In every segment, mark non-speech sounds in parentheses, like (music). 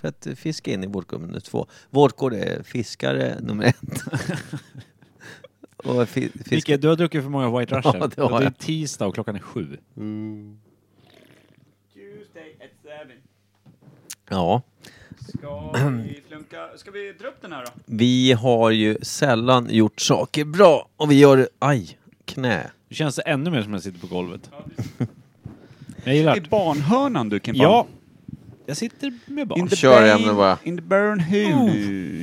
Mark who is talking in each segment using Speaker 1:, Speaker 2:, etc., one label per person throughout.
Speaker 1: För att fiska in i vårdgård nummer två. Vårdgård är fiskare nummer ett. och fi, fisk...
Speaker 2: Micke, du har druckit för många White Russian.
Speaker 1: Ja, det har
Speaker 2: det är
Speaker 1: jag.
Speaker 2: tisdag och klockan är sju.
Speaker 3: Tuesday at seven.
Speaker 1: Ja.
Speaker 3: Ska (clears throat) vi flunka? Ska vi dra upp den här då?
Speaker 1: Vi har ju sällan gjort saker bra. Och vi gör det... Aj! Knä.
Speaker 2: Nu känns det ännu mer som jag sitter på golvet. Jag gillar
Speaker 3: I
Speaker 2: det.
Speaker 3: barnhörnan du Kimpan.
Speaker 2: Ja. Jag sitter med barn.
Speaker 3: In the
Speaker 4: Kör
Speaker 3: burn-
Speaker 4: ämnen bara.
Speaker 3: In the burn hur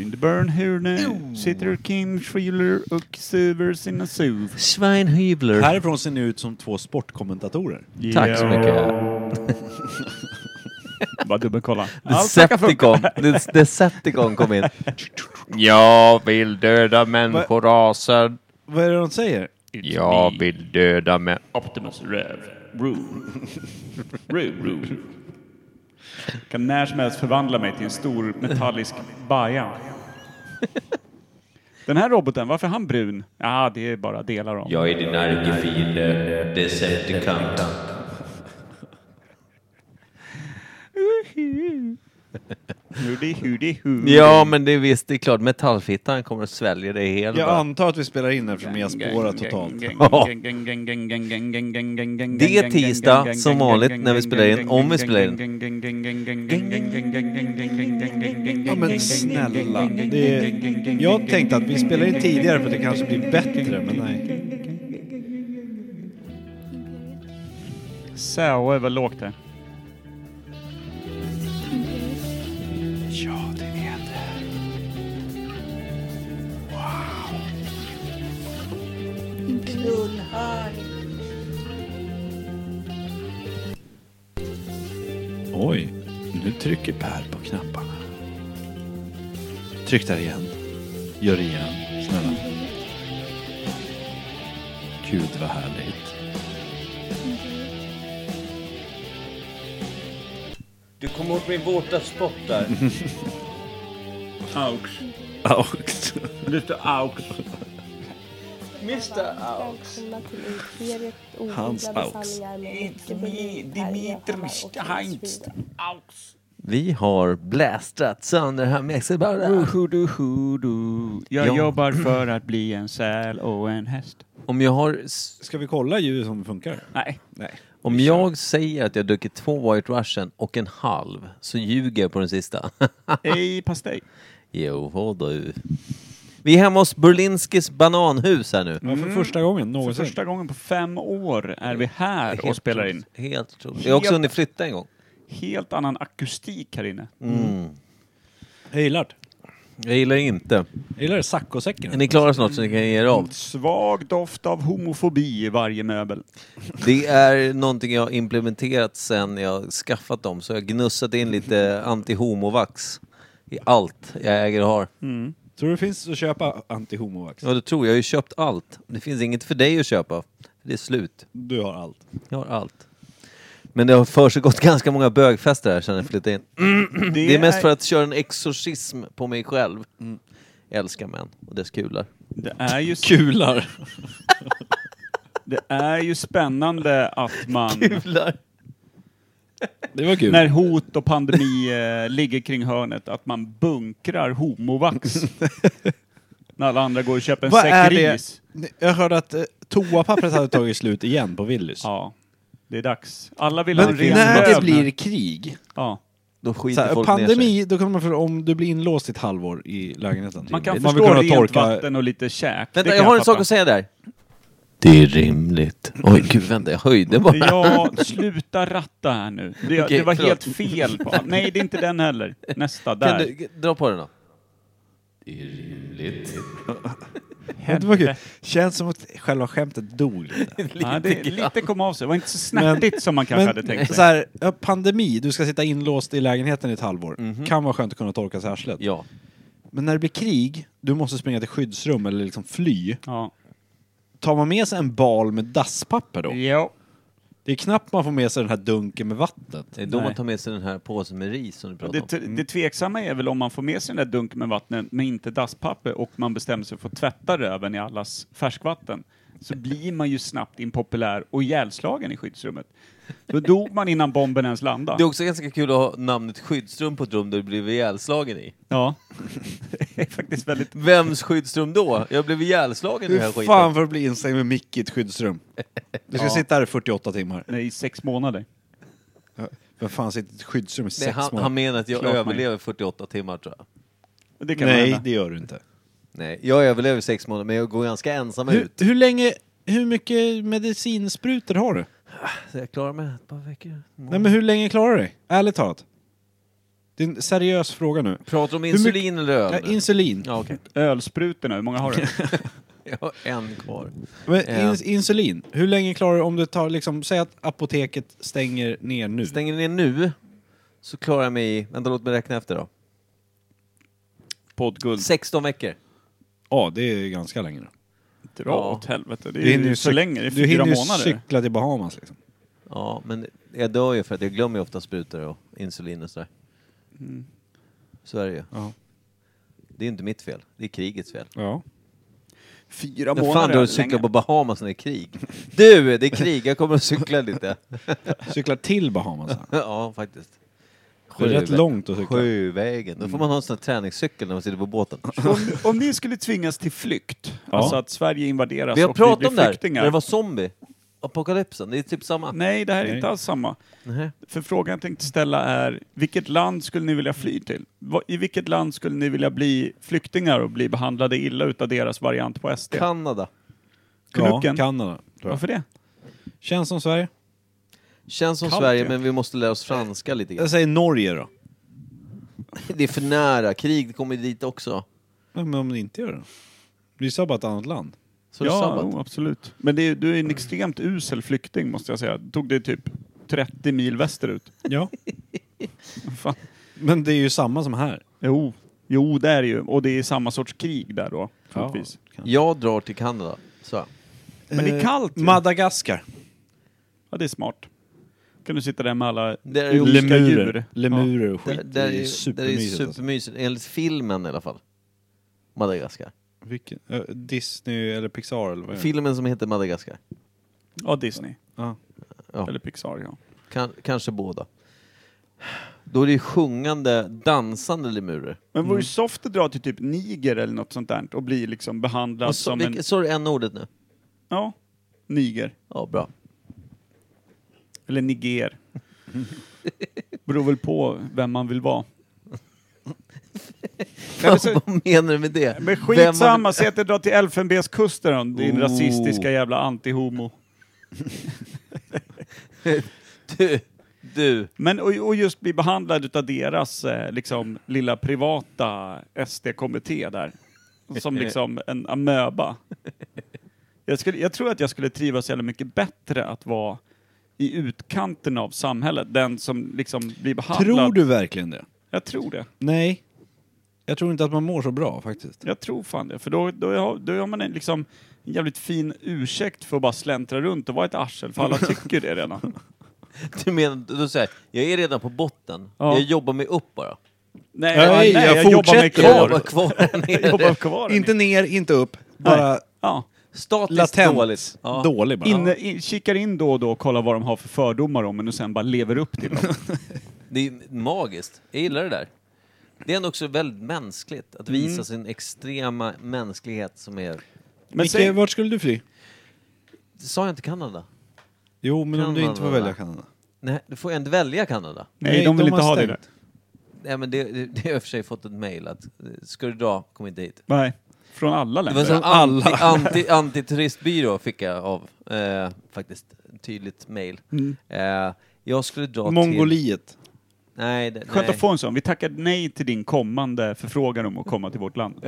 Speaker 3: In the burn hur nu. Sitter Kim Schreeler och suver sina suv.
Speaker 1: Schweinhübler.
Speaker 2: Härifrån ser ni ut som två sportkommentatorer.
Speaker 1: Tack så mycket.
Speaker 3: Bara (laughs) dubbelkolla.
Speaker 1: Decepticon. Det- Decepticon kom in.
Speaker 4: Jag vill döda människoraser.
Speaker 2: Vad är det de säger?
Speaker 4: Jag vill döda män...
Speaker 3: Optimus Rev. Roo. (laughs) Roo, roo. Kan när som helst förvandla mig till en stor metallisk baja. (laughs) Den här roboten, varför är han brun? Ja, det är bara delar av
Speaker 5: Jag är din ärkefiende, Decepticon.
Speaker 3: Hudi, hudi, hudi.
Speaker 1: Ja, men det är visst, det är klart metallfittan kommer att svälja dig helt.
Speaker 2: Jag
Speaker 1: bara.
Speaker 2: antar att vi spelar in eftersom jag spårar totalt.
Speaker 3: Det
Speaker 1: är tisdag, som vanligt, när vi spelar in, om vi spelar in.
Speaker 2: Ja men snälla. Det är... Jag tänkte att vi spelar in tidigare för att det kanske blir bättre, men nej.
Speaker 3: Så, vad lågt det
Speaker 2: Oj, nu trycker Per på knapparna. Tryck där igen. Gör det igen, snälla. Gud vad härligt.
Speaker 5: Du kom åt min våta spott där.
Speaker 3: Aux. Lite aux.
Speaker 5: Mr. Aux.
Speaker 6: Välkomna till Imperiet
Speaker 2: Hans
Speaker 6: Oodlade
Speaker 2: aux.
Speaker 6: sanningar med Micke
Speaker 3: Dimi-
Speaker 6: Berlin, Per Evhammar
Speaker 3: Dimitris
Speaker 6: och Felix
Speaker 3: Heinz.
Speaker 6: Friede.
Speaker 3: Aux.
Speaker 1: Vi har blästrat sönder här med Exibara.
Speaker 3: Hudu, hudu. Jag
Speaker 1: Ja.
Speaker 3: jobbar för att bli en säl och en häst.
Speaker 1: Om jag har... s-
Speaker 2: Ska vi kolla ljudet om det funkar?
Speaker 3: Nej.
Speaker 2: Nej.
Speaker 1: Om jag säger att jag druckit två White Russian och en halv, så ljuger jag på den sista. (laughs)
Speaker 3: Ej pastej.
Speaker 1: jo, vad du. Vi är hemma hos Berlinskis bananhus här
Speaker 3: Mm.
Speaker 1: nu.
Speaker 2: Ja, Mm. för första gången
Speaker 3: För
Speaker 2: någonsin.
Speaker 3: första gången på fem år är vi här och spelar in.
Speaker 1: otro- Helt otroligt. Jag har också
Speaker 3: Helt-
Speaker 1: hunnit flytta en gång.
Speaker 3: Helt annan akustik här inne.
Speaker 2: Jag gillar det.
Speaker 1: Jag gillar inte.
Speaker 2: Jag gillar det.
Speaker 1: Är
Speaker 2: Saccosäcken.
Speaker 1: ni klara snart så ni kan ge er av?
Speaker 3: Svag doft av homofobi i varje möbel.
Speaker 1: Det är någonting jag har implementerat sen jag skaffat dem. Så jag har gnussat in lite anti-homovax i allt jag äger och har.
Speaker 2: Tror du det finns att köpa antihomovax?
Speaker 1: Ja, det tror jag. Jag har ju köpt allt. Det finns inget för dig att köpa. Det är slut.
Speaker 2: Du har allt.
Speaker 1: Jag har allt. Men det har försiggått (laughs) ganska många bögfester här sen jag flyttade in.
Speaker 3: Det,
Speaker 1: Det är mest för att köra en exorcism på mig själv. Jag älskar män och dess kular.
Speaker 3: det är ju,
Speaker 2: Kular.
Speaker 3: det är ju spännande att man...
Speaker 1: Kular?
Speaker 2: Det var kul.
Speaker 3: När hot och pandemi eh, ligger kring hörnet, att man
Speaker 2: (laughs)
Speaker 3: bunkrar homovax. när alla andra går och köper en
Speaker 2: Vad är
Speaker 3: säck
Speaker 2: det?
Speaker 3: ris.
Speaker 2: Jag hörde att eh, toapappret hade tagit slut igen på Willys.
Speaker 3: Ja, det är dags. Alla vill ha
Speaker 2: Men
Speaker 3: en ren
Speaker 2: när
Speaker 3: röv
Speaker 2: det
Speaker 3: nu.
Speaker 2: blir krig,
Speaker 3: Ja.
Speaker 1: Då
Speaker 2: så
Speaker 1: skiter
Speaker 2: här,
Speaker 1: folk ner sig.
Speaker 2: pandemi, då kommer man för om du blir inlåst i ett halvår i lägenheten.
Speaker 3: Man kan
Speaker 2: Rimligt.
Speaker 3: förstå
Speaker 2: vill
Speaker 3: rent
Speaker 2: kunna
Speaker 3: vatten och lite käk. det
Speaker 1: Vänta,
Speaker 3: kan
Speaker 1: jag har en
Speaker 3: fatta.
Speaker 1: sak att säga där. Det är rimligt. Oj, gud, vänta, jag höjde bara.
Speaker 3: Ja, sluta ratta här nu. Det,
Speaker 1: Okej,
Speaker 3: det var
Speaker 1: förlåt.
Speaker 3: helt fel. På. Nej, det är inte den heller. Nästa,
Speaker 1: Kan
Speaker 3: där.
Speaker 1: du g- dra på den då?
Speaker 2: Ja, Det var kul. Känns som att själva skämtet dog lite.
Speaker 3: ja, det, lite kom av sig. Det var inte så
Speaker 2: Men-
Speaker 3: snärtigt som man kanske hade tänkt sig.
Speaker 2: så här, ja, pandemi, du ska sitta inlåst i lägenheten i ett halvår. Kan vara skönt att kunna torka sig i arslet.
Speaker 1: Ja.
Speaker 2: Men när det blir krig, du måste springa till skyddsrum eller liksom fly.
Speaker 3: Ja.
Speaker 2: Tar man med sig en bal med dasspapper då?
Speaker 1: Mm.
Speaker 3: Jo.
Speaker 2: Det är knappt man får med sig den här dunken med vattnet.
Speaker 1: Det är då
Speaker 3: Nej.
Speaker 1: man tar med sig den här påsen med ris som du pratade
Speaker 3: Det,
Speaker 1: om.
Speaker 3: t- det tveksamma är väl om man får med sig den där dunken med vatten men inte dasspapper och man bestämmer sig för att tvätta röven i allas färskvatten. så blir man ju snabbt impopulär och ihjälslagen i skyddsrummet. Då dog man innan bomben ens
Speaker 1: Det är
Speaker 3: landade.
Speaker 1: också ganska kul att ha namnet skyddsrum på ett rum där du blev ihjälslagen i.
Speaker 3: Ja. Det är faktiskt väldigt...
Speaker 1: Vems skyddsrum då? Jag blev ihjälslagen i den här
Speaker 2: Hur
Speaker 1: skiten.
Speaker 2: fan för att bli instängd med mick i ett skyddsrum? Du ska sitta här i 48 timmar.
Speaker 3: Nej, i sex månader.
Speaker 2: Vem fan sitter i ett skyddsrum i
Speaker 1: Nej,
Speaker 2: sex
Speaker 1: han, han
Speaker 2: månader?
Speaker 1: menar att jag
Speaker 3: Klart man
Speaker 1: överlever 48 timmar tror jag.
Speaker 3: Det kan
Speaker 2: Nej,
Speaker 3: hända.
Speaker 2: det gör du inte.
Speaker 1: Nej, jag överlever sex månader men jag går ganska ensam
Speaker 2: Hur,
Speaker 1: ut.
Speaker 2: hur länge, hur mycket medicinsprutor har du?
Speaker 1: Så jag klarar mig ett par veckor.
Speaker 2: Nej men hur länge klarar du dig? Ärligt talat. Det är en seriös fråga nu.
Speaker 1: Pratar om
Speaker 2: mycket-
Speaker 1: insulin eller
Speaker 2: Ja,
Speaker 1: öl? nu?
Speaker 2: insulin.
Speaker 1: ja, okej.
Speaker 3: Ölsprutorna, hur många har du?
Speaker 1: Jag har en kvar.
Speaker 2: Men
Speaker 1: Ja.
Speaker 2: ins- insulin, hur länge klarar du om du tar, liksom, säg att apoteket stänger ner nu.
Speaker 1: Stänger ni ner nu så klarar jag mig i, vänta låt mig räkna efter då.
Speaker 3: Poddguld.
Speaker 1: 16 veckor.
Speaker 2: Ja, det är ju ganska länge då.
Speaker 3: Dra
Speaker 1: Ja.
Speaker 3: åt helvete. Det
Speaker 2: Du
Speaker 3: är
Speaker 2: hinner
Speaker 3: ju
Speaker 2: ju
Speaker 3: så
Speaker 2: cyk-
Speaker 3: länge. Det är
Speaker 2: Du
Speaker 3: fyra
Speaker 2: hinner ju
Speaker 3: månader.
Speaker 2: cykla till Bahamas liksom.
Speaker 1: Ja, men jag dör ju för att jag glömmer ju ofta sprutor och insulin och sådär.
Speaker 3: Mm.
Speaker 1: Så är det ju.
Speaker 2: Ja.
Speaker 1: Det är inte mitt fel, det är krigets fel.
Speaker 2: Ja.
Speaker 3: Fyra
Speaker 1: När fan drar du och cyklar på Bahamas när det är krig? Du, det är krig, jag kommer att cykla lite. (laughs)
Speaker 2: Cykla till Bahamas.
Speaker 1: ja, faktiskt.
Speaker 2: Det är rätt långt att cykla.
Speaker 1: Sjövägen. Då får man ha en sån här träningscykel när man sitter på båten.
Speaker 3: Om, om ni skulle tvingas till flykt, alltså att Sverige invaderas
Speaker 1: Vi har
Speaker 3: och vi
Speaker 1: pratat om det
Speaker 3: blir
Speaker 1: här,
Speaker 3: flyktingar.
Speaker 1: när det var zombie. Apokalypsen, det är typ samma.
Speaker 3: Nej, det här är
Speaker 2: Nej.
Speaker 3: inte alls samma.
Speaker 1: Nej.
Speaker 3: För frågan jag tänkte ställa är, vilket land skulle ni vilja fly till? Va- I vilket land skulle ni vilja bli flyktingar och bli behandlade illa utav deras variant på SD?
Speaker 1: Kanada.
Speaker 2: Ja,
Speaker 3: Knucken?
Speaker 2: Kanada. Tror jag.
Speaker 3: Varför det?
Speaker 2: Känns som Sverige.
Speaker 1: Känns som
Speaker 3: Kallt,
Speaker 1: Sverige,
Speaker 3: ja.
Speaker 1: men vi måste lära oss franska lite grann.
Speaker 2: Jag säger Norge då.
Speaker 1: Det är för nära, krig kommer ju dit också.
Speaker 2: Nej, men om ni inte gör det då? Vi sa bara ett annat land.
Speaker 1: Så är det sabbat.
Speaker 3: jo, absolut. Men det är, du är en extremt usel flykting måste jag säga. Det tog dig typ 30 mil västerut.
Speaker 2: Ja.
Speaker 3: Fan.
Speaker 2: (laughs) Men det är ju samma som här.
Speaker 3: Jo. jo, det är det ju. Och det är samma sorts krig där då, troligtvis.
Speaker 1: Jag drar till Kanada, så. jag.
Speaker 3: Men det är kallt ju.
Speaker 2: Eh, Madagaskar.
Speaker 3: Ja, det är smart. kan du sitta där med alla
Speaker 1: Det är ju-
Speaker 3: olika djur.
Speaker 2: Lemurer. Lemurer och skit.
Speaker 1: Där, där,
Speaker 2: det
Speaker 1: är, där
Speaker 2: är
Speaker 1: är
Speaker 2: supermysigt. alltså.
Speaker 1: supermysigt, enligt filmen i alla fall. Madagaskar.
Speaker 2: Vilken? Eh, Disney eller Pixar eller vad är det?
Speaker 1: Filmen som heter Madagaskar.
Speaker 3: Ja, Disney.
Speaker 2: Ja.
Speaker 1: Ja.
Speaker 3: Eller Pixar, ja.
Speaker 1: Kan, kanske båda. Då är det ju sjungande, dansande lemurer.
Speaker 3: Men vore ju soft att dra till typ Niger eller något sånt där och bli liksom behandlad
Speaker 1: Och så,
Speaker 3: som en...
Speaker 1: Alltså, vilket, så är det en ordet nu?
Speaker 3: Ja, Niger.
Speaker 1: Ja, bra.
Speaker 3: Eller (laughs) Niger. Beror väl på vem man vill vara. (laughs) Nej, men, så,
Speaker 1: (laughs) Vad menar du med det?
Speaker 3: men
Speaker 1: Vem har-
Speaker 3: skitsamma, säg att jag drar till Elfenbenskusten då, din
Speaker 1: Oh.
Speaker 3: rasistiska jävla antihomo.
Speaker 1: (laughs) Du, du.
Speaker 3: Men och, och just bli behandlad utav deras eh, liksom lilla privata SD-kommitté där. Som liksom en amöba. Jag, skulle, jag tror att jag skulle trivas jävla mycket bättre att vara i utkanten av samhället. Den som liksom blir behandlad.
Speaker 2: Tror du verkligen det?
Speaker 3: Jag tror det.
Speaker 2: Nej. Jag tror inte att man mår så bra faktiskt.
Speaker 3: Jag tror fan det. För då, då, har, då har man en, liksom, en jävligt fin ursäkt för att bara släntra runt och vara ett arsel. För alla tycker
Speaker 2: (laughs)
Speaker 3: det redan.
Speaker 1: Du menar, du säger, jag är redan på botten.
Speaker 3: Ja.
Speaker 1: Jag jobbar mig upp bara.
Speaker 3: Nej,
Speaker 2: Nej, jag
Speaker 3: jobbar mig
Speaker 2: fortsätter.
Speaker 1: Jag
Speaker 3: kvar.
Speaker 1: jobbar kvar
Speaker 2: (laughs)
Speaker 3: (laughs)
Speaker 1: här
Speaker 3: Jag
Speaker 1: nere.
Speaker 3: jobbar kvar.
Speaker 2: Inte ner, inte upp. Bara
Speaker 3: Ja.
Speaker 1: Statiskt
Speaker 2: latent
Speaker 1: dåligt. Ja.
Speaker 2: dålig bara.
Speaker 3: Inne, in, kikar in då och då och kollar vad de har för fördomar om en och sen bara lever upp till dem.
Speaker 1: Det är magiskt. Jag gillar det där. Det är ändå också väldigt mänskligt att visa sin extrema mänsklighet som är...
Speaker 3: (laughs) Men
Speaker 2: Micke,
Speaker 3: säg,
Speaker 2: vart skulle du fly?
Speaker 1: Sa jag inte Kanada?
Speaker 2: Jo, men om du inte får
Speaker 1: Kanada.
Speaker 2: välja Kanada.
Speaker 1: Nej, du får jag inte välja Kanada.
Speaker 3: nej, de vill
Speaker 2: har
Speaker 3: inte ha det
Speaker 2: stängt.
Speaker 3: där.
Speaker 1: Nej, men det, det, det har jag i och för sig fått ett mejl att eh, ska du dra, kom inte hit.
Speaker 3: Nej, från alla
Speaker 1: Det var en
Speaker 3: länder.
Speaker 1: sån anti, anti, antituristbyrå fick jag av, eh, faktiskt, ett tydligt mejl.
Speaker 3: Mm.
Speaker 1: Eh, jag skulle dra till...
Speaker 2: Mongoliet.
Speaker 1: Nej, det,
Speaker 3: Skönt
Speaker 1: nej. (laughs)
Speaker 3: att få en sån. Vi tackar nej till din kommande förfrågan om att komma till vårt land.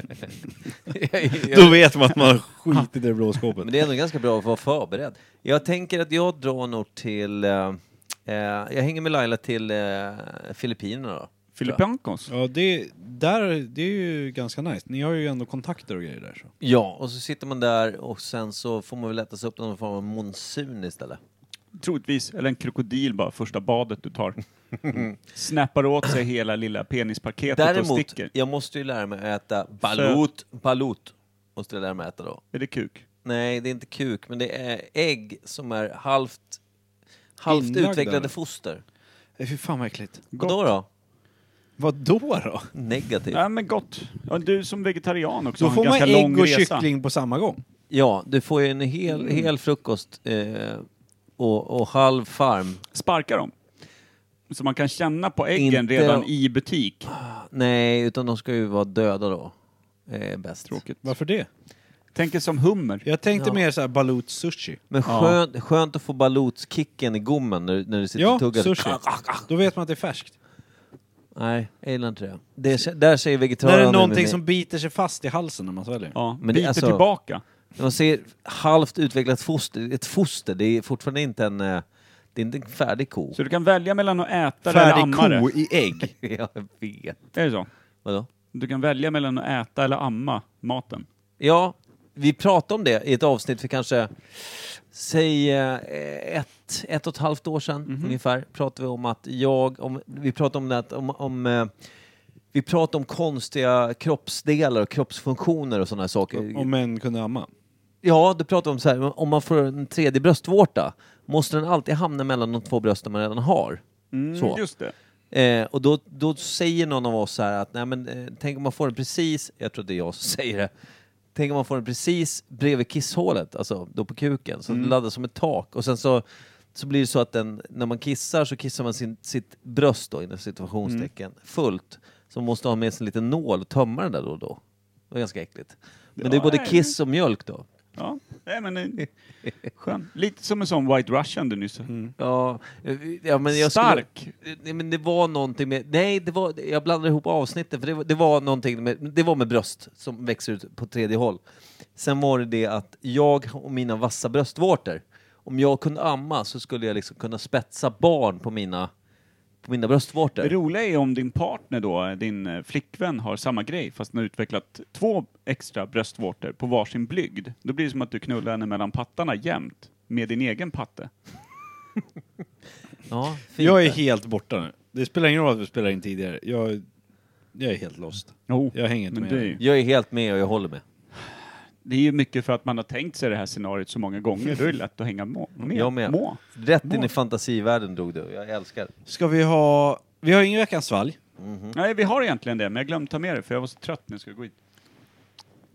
Speaker 2: Då vet man att man (laughs) har skit i det blå skåpet.
Speaker 1: Men det är ändå ganska bra att vara förberedd. Jag tänker att jag drar nog till... Eh, eh, jag hänger med Laila till eh, Filippinerna då.
Speaker 3: Filippankos.
Speaker 2: Ja, det, där, det är ju ganska nice. Ni har ju ändå kontakter och grejer där. Så.
Speaker 1: Ja, och så sitter man där och sen så får man väl äta sig upp någon form av monsun istället.
Speaker 3: Troligtvis. Eller en krokodil bara, första badet du tar.
Speaker 2: Mm.
Speaker 3: Snappar åt sig hela lilla penispaketet och
Speaker 1: Däremot,
Speaker 3: sticker.
Speaker 1: jag måste ju lära mig att äta balut. Balut måste jag lära mig att äta då.
Speaker 3: Är det kuk?
Speaker 1: Nej, det är inte kuk, men det är ägg som är halvt, halvt
Speaker 2: Inlagda,
Speaker 1: utvecklade
Speaker 2: eller?
Speaker 1: foster.
Speaker 2: Nej, Fy fan vad äckligt.
Speaker 1: Och då då?
Speaker 2: Vad då då?
Speaker 1: Negativt.
Speaker 3: Nej men gott. Ja, du som vegetarian också
Speaker 2: Då
Speaker 3: har
Speaker 2: får
Speaker 3: en
Speaker 2: man
Speaker 3: ganska
Speaker 2: ägg
Speaker 3: lång
Speaker 2: och
Speaker 3: resa.
Speaker 2: kyckling på samma gång.
Speaker 1: Ja, du får ju en hel,
Speaker 2: Mm.
Speaker 1: hel frukost eh, och, och halv farm.
Speaker 3: Sparka dem. Så man kan känna på äggen
Speaker 1: Inte-
Speaker 3: redan i butik.
Speaker 1: Nej, utan de ska ju vara döda då. Eh, bäst.
Speaker 3: Tråkigt.
Speaker 2: Varför det?
Speaker 3: Tänker som hummer.
Speaker 2: Jag tänkte
Speaker 1: Ja.
Speaker 2: mer så här balut sushi.
Speaker 1: Men
Speaker 3: Ja.
Speaker 1: skönt, skönt att få balotskicken i gommen när, när du sitter
Speaker 2: Ja,
Speaker 1: och tuggar.
Speaker 2: sushi. Då vet man att det är färskt.
Speaker 1: Nej, jag gillar inte det. det är, där säger
Speaker 2: När
Speaker 1: vegetarianen...
Speaker 2: det är någonting
Speaker 1: i
Speaker 2: som biter sig fast i halsen när man sväljer.
Speaker 3: Ja,
Speaker 1: Men det-
Speaker 3: biter
Speaker 1: alltså-
Speaker 3: tillbaka.
Speaker 1: När man ser halvt utvecklat foster, ett foster, det är fortfarande inte en... eh, Det är inte en färdig ko.
Speaker 3: Så du kan välja mellan att äta det eller
Speaker 2: Färdig
Speaker 3: amma det.
Speaker 2: ko i ägg.
Speaker 1: (laughs) Jag vet.
Speaker 3: Är det så?
Speaker 1: Vadå?
Speaker 3: Du kan välja mellan att äta eller amma maten.
Speaker 1: Ja, vi pratade om det i ett avsnitt för kanske, säg eh, ett, ett och ett halvt år sedan
Speaker 2: Mhm.
Speaker 1: ungefär. Pratade vi om att jag, om, vi pratade om det att om, om eh, vi pratade om konstiga kroppsdelar och kroppsfunktioner och sådana saker.
Speaker 2: Om män kunde amma.
Speaker 1: Ja, du pratade om så här, om man får en tredje bröstvårta, måste den alltid hamna mellan de två brösten man redan har?
Speaker 2: Mm,
Speaker 1: så.
Speaker 3: Just det.
Speaker 1: Eh, och då, då säger någon av oss så här att, nej men eh, tänk om man får den precis, jag tror det är jag som (laughs) säger det, tänk om man får den precis bredvid kisshålet, alltså då på kuken, så det laddas som ett tak och sen så, så blir det så att den, när man kissar så kissar man sin, sitt bröst då, inom situationstecken fullt. Så man måste ha med sig en liten nål och tömma den där då och då. Det var ganska äckligt. Men det är
Speaker 3: Ja,
Speaker 1: både
Speaker 3: nej.
Speaker 1: kiss och mjölk då. (laughs)
Speaker 3: Ja, nej men... eh, Skön. Lite som en sån White Russian du nyss sa.
Speaker 1: Mm, Ja, eh, ja men jag
Speaker 3: Stark.
Speaker 1: Skulle, Eh, nej, men det var någonting med... Nej, det var, jag blandade ihop avsnitten för det var, det var någonting med, det var med bröst som växer ut på tredje håll. Sen var det det att jag och mina vassa bröstvårtor, om jag kunde amma så skulle jag liksom kunna spetsa barn på mina, på mina
Speaker 3: Det
Speaker 1: bröstvårtor.
Speaker 3: roliga är om din partner då, din eh, flickvän, har samma grej fast den har utvecklat två extra bröstvårtor på varsin blygd. Då blir det som att du knullar henne mellan pattarna jämt med din egen patte.
Speaker 1: Ja, fint
Speaker 2: Jag är
Speaker 1: där.
Speaker 2: helt borta nu. Det spelar ingen roll att vi spelar in tidigare. Jag, jag är helt lost.
Speaker 3: Jo,
Speaker 2: Jag hänger inte
Speaker 3: men
Speaker 2: med.
Speaker 3: det är, ju,
Speaker 1: jag är helt med och jag håller med.
Speaker 3: det är ju mycket för att man har tänkt sig det här scenariot så många gånger. Då är det lätt att hänga må, med.
Speaker 1: Jag med.
Speaker 3: Må.
Speaker 1: Rätt in i fantasivärlden drog du. Jag älskar det.
Speaker 2: Ska vi ha... Vi har ingen veckans svalg.
Speaker 1: Mm.
Speaker 3: Nej, vi har egentligen det, men jag glömde ta med det för jag var så trött när jag skulle gå hit.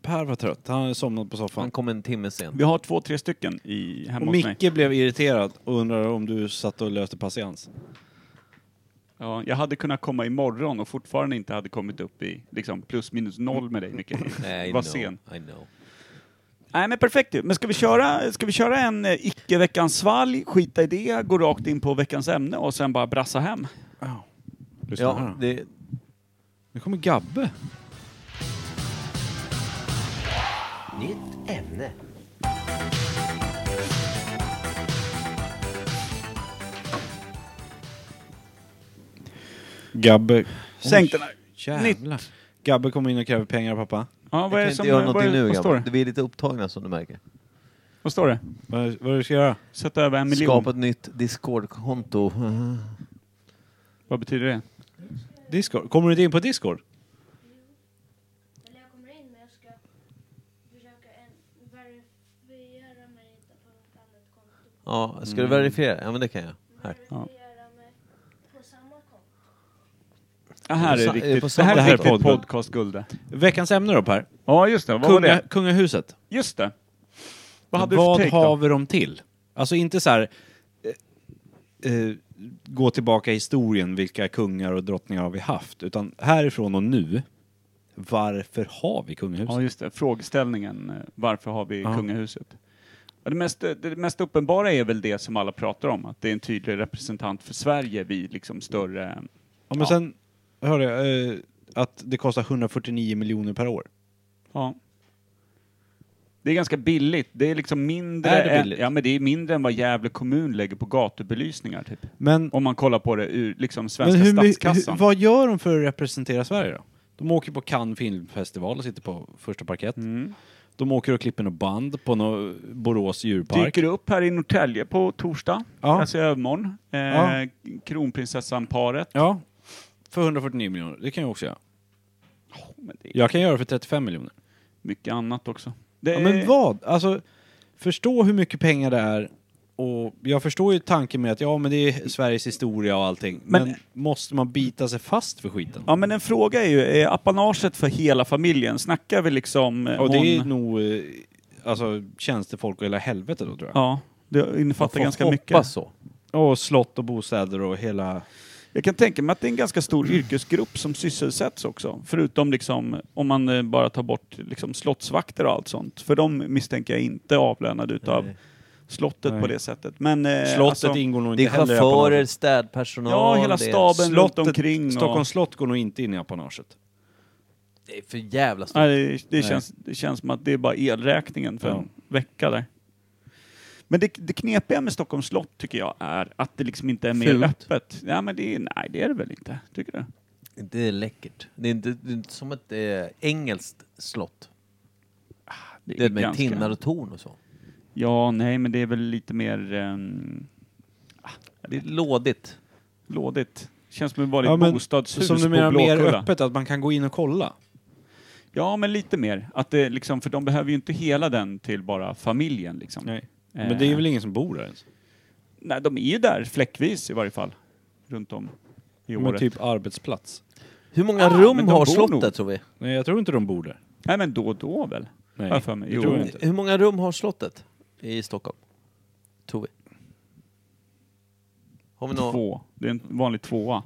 Speaker 2: Per var trött. Han hade somnat på soffan.
Speaker 1: Han kom en timme sen.
Speaker 3: Vi har två, tre stycken i, hemma
Speaker 2: Och
Speaker 3: hos mig.
Speaker 2: Micke blev irriterad och undrade om du satt och löste patiens.
Speaker 3: Ja, jag hade kunnat komma imorgon och fortfarande inte hade kommit upp i liksom, plus minus noll med
Speaker 1: (laughs)
Speaker 3: dig, Micke.
Speaker 1: I
Speaker 3: var
Speaker 1: know,
Speaker 3: sen.
Speaker 1: I know.
Speaker 3: Nej men perfekt ju. Men ska vi köra, ska vi köra en eh, icke-veckans svalg, skita i det, gå rakt in på veckans ämne och sen bara brassa hem?
Speaker 2: Lyssna här
Speaker 1: Ja,
Speaker 2: då.
Speaker 1: det,
Speaker 2: Nu kommer Gabbe.
Speaker 7: Nytt ämne.
Speaker 2: Gabbe.
Speaker 3: Sänk den här.
Speaker 2: Jävlar. Gabbe kommer in och kräver pengar pappa.
Speaker 3: Ja, vad
Speaker 1: Jag kan
Speaker 3: är det
Speaker 1: inte
Speaker 3: som,
Speaker 1: göra
Speaker 3: vad,
Speaker 1: någonting
Speaker 3: är-
Speaker 1: nu
Speaker 3: vad står
Speaker 1: grabbar.
Speaker 3: det?
Speaker 1: Vi är lite upptagna som du märker.
Speaker 3: Vad står det?
Speaker 2: Vad, vad du ska göra?
Speaker 3: Sätta över en miljon.
Speaker 1: Skapa ett nytt Discord-konto. (laughs) Mhm.
Speaker 3: Vad betyder det?
Speaker 2: Discord. Kommer du inte in på Discord?
Speaker 8: Eller jag kommer in men jag ska försöka en- verifiera mig inte på något annat konto.
Speaker 1: Ja, ska
Speaker 3: Mm.
Speaker 1: du verifiera? Ja men det kan jag. Här.
Speaker 8: Verifiera mig på samma konto.
Speaker 3: Det här
Speaker 1: På
Speaker 3: är
Speaker 1: sa- är på
Speaker 3: riktigt, det
Speaker 1: samma-
Speaker 3: här
Speaker 2: det här
Speaker 3: är
Speaker 2: är
Speaker 3: riktigt
Speaker 2: podd-
Speaker 3: podcastguld.
Speaker 2: Veckans ämne då Per?
Speaker 3: Ja just det, vad var
Speaker 2: Kunga,
Speaker 3: det?
Speaker 2: kungahuset.
Speaker 3: Just det. Vad hade du för take
Speaker 2: har
Speaker 3: då?
Speaker 2: vi dem till? Alltså inte så här... Eh, eh, gå tillbaka i historien, vilka kungar och drottningar har vi haft? Utan härifrån och nu, varför har vi kungahuset?
Speaker 3: Ja just det, frågeställningen eh, varför har vi
Speaker 2: Ja.
Speaker 3: kungahuset? Ja, Det mest, det mest uppenbara är väl det som alla pratar om, att det är en tydlig representant för Sverige vid liksom större
Speaker 2: Ja, men sen hörde jag eh, att det kostar 149 miljoner per år.
Speaker 3: Ja. Det är ganska billigt. Det är liksom mindre,
Speaker 2: Är det
Speaker 3: än-
Speaker 2: billigt?
Speaker 3: ja, men det är mindre än vad Gävle kommun lägger på gatubelysningar. Typ.
Speaker 2: Men,
Speaker 3: Om man kollar på det ur liksom,
Speaker 2: men
Speaker 3: svenska
Speaker 2: hur, my-
Speaker 3: statskassan.
Speaker 2: hur, vad gör de för att representera Sverige då? De åker på Cannes filmfestival och sitter på första parkett.
Speaker 3: Mm.
Speaker 2: De åker och klipper något band på någon Borås djurpark.
Speaker 3: Dyker upp här i Norrtälje på torsdag,
Speaker 2: Ja.
Speaker 3: alltså i övermorgon. Eh,
Speaker 2: Ja.
Speaker 3: Kronprinsessan-paret.
Speaker 2: Ja, för 149 miljoner. Det kan jag också göra.
Speaker 3: Men det är
Speaker 2: Jag kan göra det för 35 miljoner.
Speaker 3: mycket annat också. Det
Speaker 2: Ja,
Speaker 3: är,
Speaker 2: men vad? Alltså, förstå hur mycket pengar det är och jag förstår ju tanken med att ja men det är Sveriges historia och allting. Men,
Speaker 3: Men-
Speaker 2: måste man bita sig fast för skiten?
Speaker 3: Ja, men en fråga är ju, är apanaget för hela familjen? Snackar vi liksom... eh,
Speaker 2: och det är
Speaker 3: hon-
Speaker 2: nog eh, alltså, tjänstefolk och hela helvetet då tror jag.
Speaker 3: Ja, det innefattar
Speaker 1: Man
Speaker 3: ganska
Speaker 1: får
Speaker 3: mycket.
Speaker 1: hoppas så.
Speaker 2: Och slott och bostäder och hela...
Speaker 3: Jag kan tänka mig att det är en ganska stor
Speaker 2: Mm.
Speaker 3: yrkesgrupp som sysselsätts också. Förutom liksom, om man eh, bara tar bort liksom, slottsvakter och allt sånt. För de misstänker jag inte är avlönade utav slottet
Speaker 2: Nej.
Speaker 3: på det sättet. Men, eh,
Speaker 2: Slottet
Speaker 3: alltså,
Speaker 2: ingår nog
Speaker 1: Det
Speaker 2: inte
Speaker 1: är
Speaker 2: heller i apanaget.
Speaker 1: chaufförer, städpersonal.
Speaker 3: Ja, hela
Speaker 1: det är-
Speaker 3: staben. runt omkring och-
Speaker 2: Slottet, Stockholms slott går nog inte in i apanaget.
Speaker 1: Det är för jävla stort.
Speaker 3: nej, det, det, känns, det känns som att det är bara elräkningen för
Speaker 2: Ja.
Speaker 3: en vecka där. Men det, det knepiga med Stockholms slott tycker jag är att det liksom inte är mer
Speaker 1: Fult.
Speaker 3: öppet. Ja, men det, är- nej, det är det väl inte? Tycker du?
Speaker 1: Det är läckert. Det är inte, det är inte som ett eh, engelskt slott. Det är med
Speaker 3: ganska-
Speaker 1: tinnar och torn och så.
Speaker 3: Ja, nej, men det är väl lite mer... ehm,
Speaker 1: Det är lådigt.
Speaker 3: Lådigt. Känns som att vara
Speaker 2: Ja,
Speaker 3: ja,
Speaker 2: men
Speaker 3: bostadshus
Speaker 2: Som du
Speaker 3: på
Speaker 2: menar mer
Speaker 3: Blåkulla.
Speaker 2: öppet, att man kan gå in och kolla?
Speaker 3: Ja, men lite mer. Att det liksom, för de behöver ju inte hela den till bara familjen. Liksom.
Speaker 2: Nej. Men det är väl ingen som bor där ens?
Speaker 3: Nej, de är ju där fläckvis i varje fall. Runt om i
Speaker 2: Men
Speaker 3: året.
Speaker 2: typ arbetsplats?
Speaker 1: Hur många
Speaker 3: Ah, men
Speaker 1: rum
Speaker 3: de
Speaker 1: har
Speaker 3: bor
Speaker 1: slottet
Speaker 3: nog.
Speaker 1: tror vi?
Speaker 2: Nej, jag tror inte de bor där.
Speaker 3: Nej, men då och då väl?
Speaker 2: Nej,
Speaker 3: Har jag för mig.
Speaker 2: det
Speaker 3: Jo.
Speaker 2: tror jag inte.
Speaker 1: Hur många rum har slottet i Stockholm? Tror vi. Har vi något?
Speaker 3: Två. Det är en vanlig tvåa.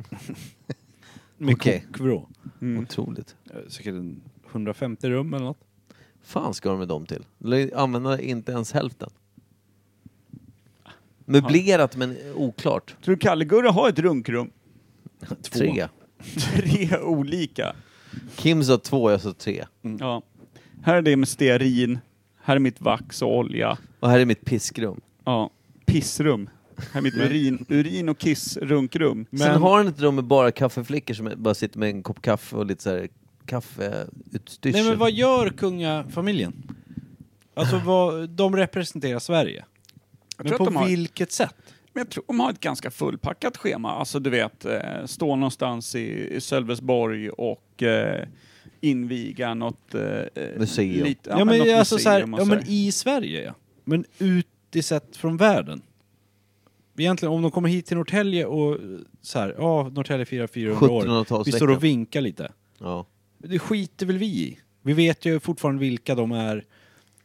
Speaker 2: Med
Speaker 1: Okej.
Speaker 2: kokvrå.
Speaker 3: Mm.
Speaker 1: Otroligt.
Speaker 2: Eh, Säkert en 150 rum eller något.
Speaker 1: fan ska de med dem till? De använder inte ens hälften. Möblerat men
Speaker 2: (laughs)
Speaker 1: oklart.
Speaker 3: Tror du Kalle-Gurra har ett runkrum?
Speaker 1: Tre.
Speaker 3: (laughs) Tre olika.
Speaker 1: Kim sa två, jag sa tre.
Speaker 2: Mm.
Speaker 3: Ja. Här är det med stearin. Här är mitt vax och olja.
Speaker 1: Och här är mitt piskrum.
Speaker 3: Ja. Pissrum. Här är mitt urin, urin och kissrunkrum.
Speaker 1: Sen har han ett rum med bara kaffeflickor som bara sitter med en kopp kaffe och lite så här kaffeutstyrsel.
Speaker 2: Nej men vad gör kungafamiljen? Alltså vad, de representerar Sverige. Men
Speaker 3: tror
Speaker 2: på
Speaker 3: att de har-
Speaker 2: vilket sätt?
Speaker 3: Men jag tror de har ett ganska fullpackat schema. Alltså du vet, eh, stå någonstans i, i Sölvesborg och eh, inviga något... Eh, eh,
Speaker 1: Museum.
Speaker 3: lite-
Speaker 2: Ja, men
Speaker 3: något
Speaker 2: alltså så här,
Speaker 3: museum och
Speaker 2: ja men
Speaker 3: sådär.
Speaker 2: i Sverige ja. Men ut i sett från världen. Egentligen om de kommer hit till Norrtälje och eh, så här, ja Norrtälje firar 400 år. Vi
Speaker 1: 1700-talsveckan.
Speaker 2: står och vinkar lite.
Speaker 1: Ja.
Speaker 2: Det skiter väl vi i. Vi vet ju fortfarande vilka de är.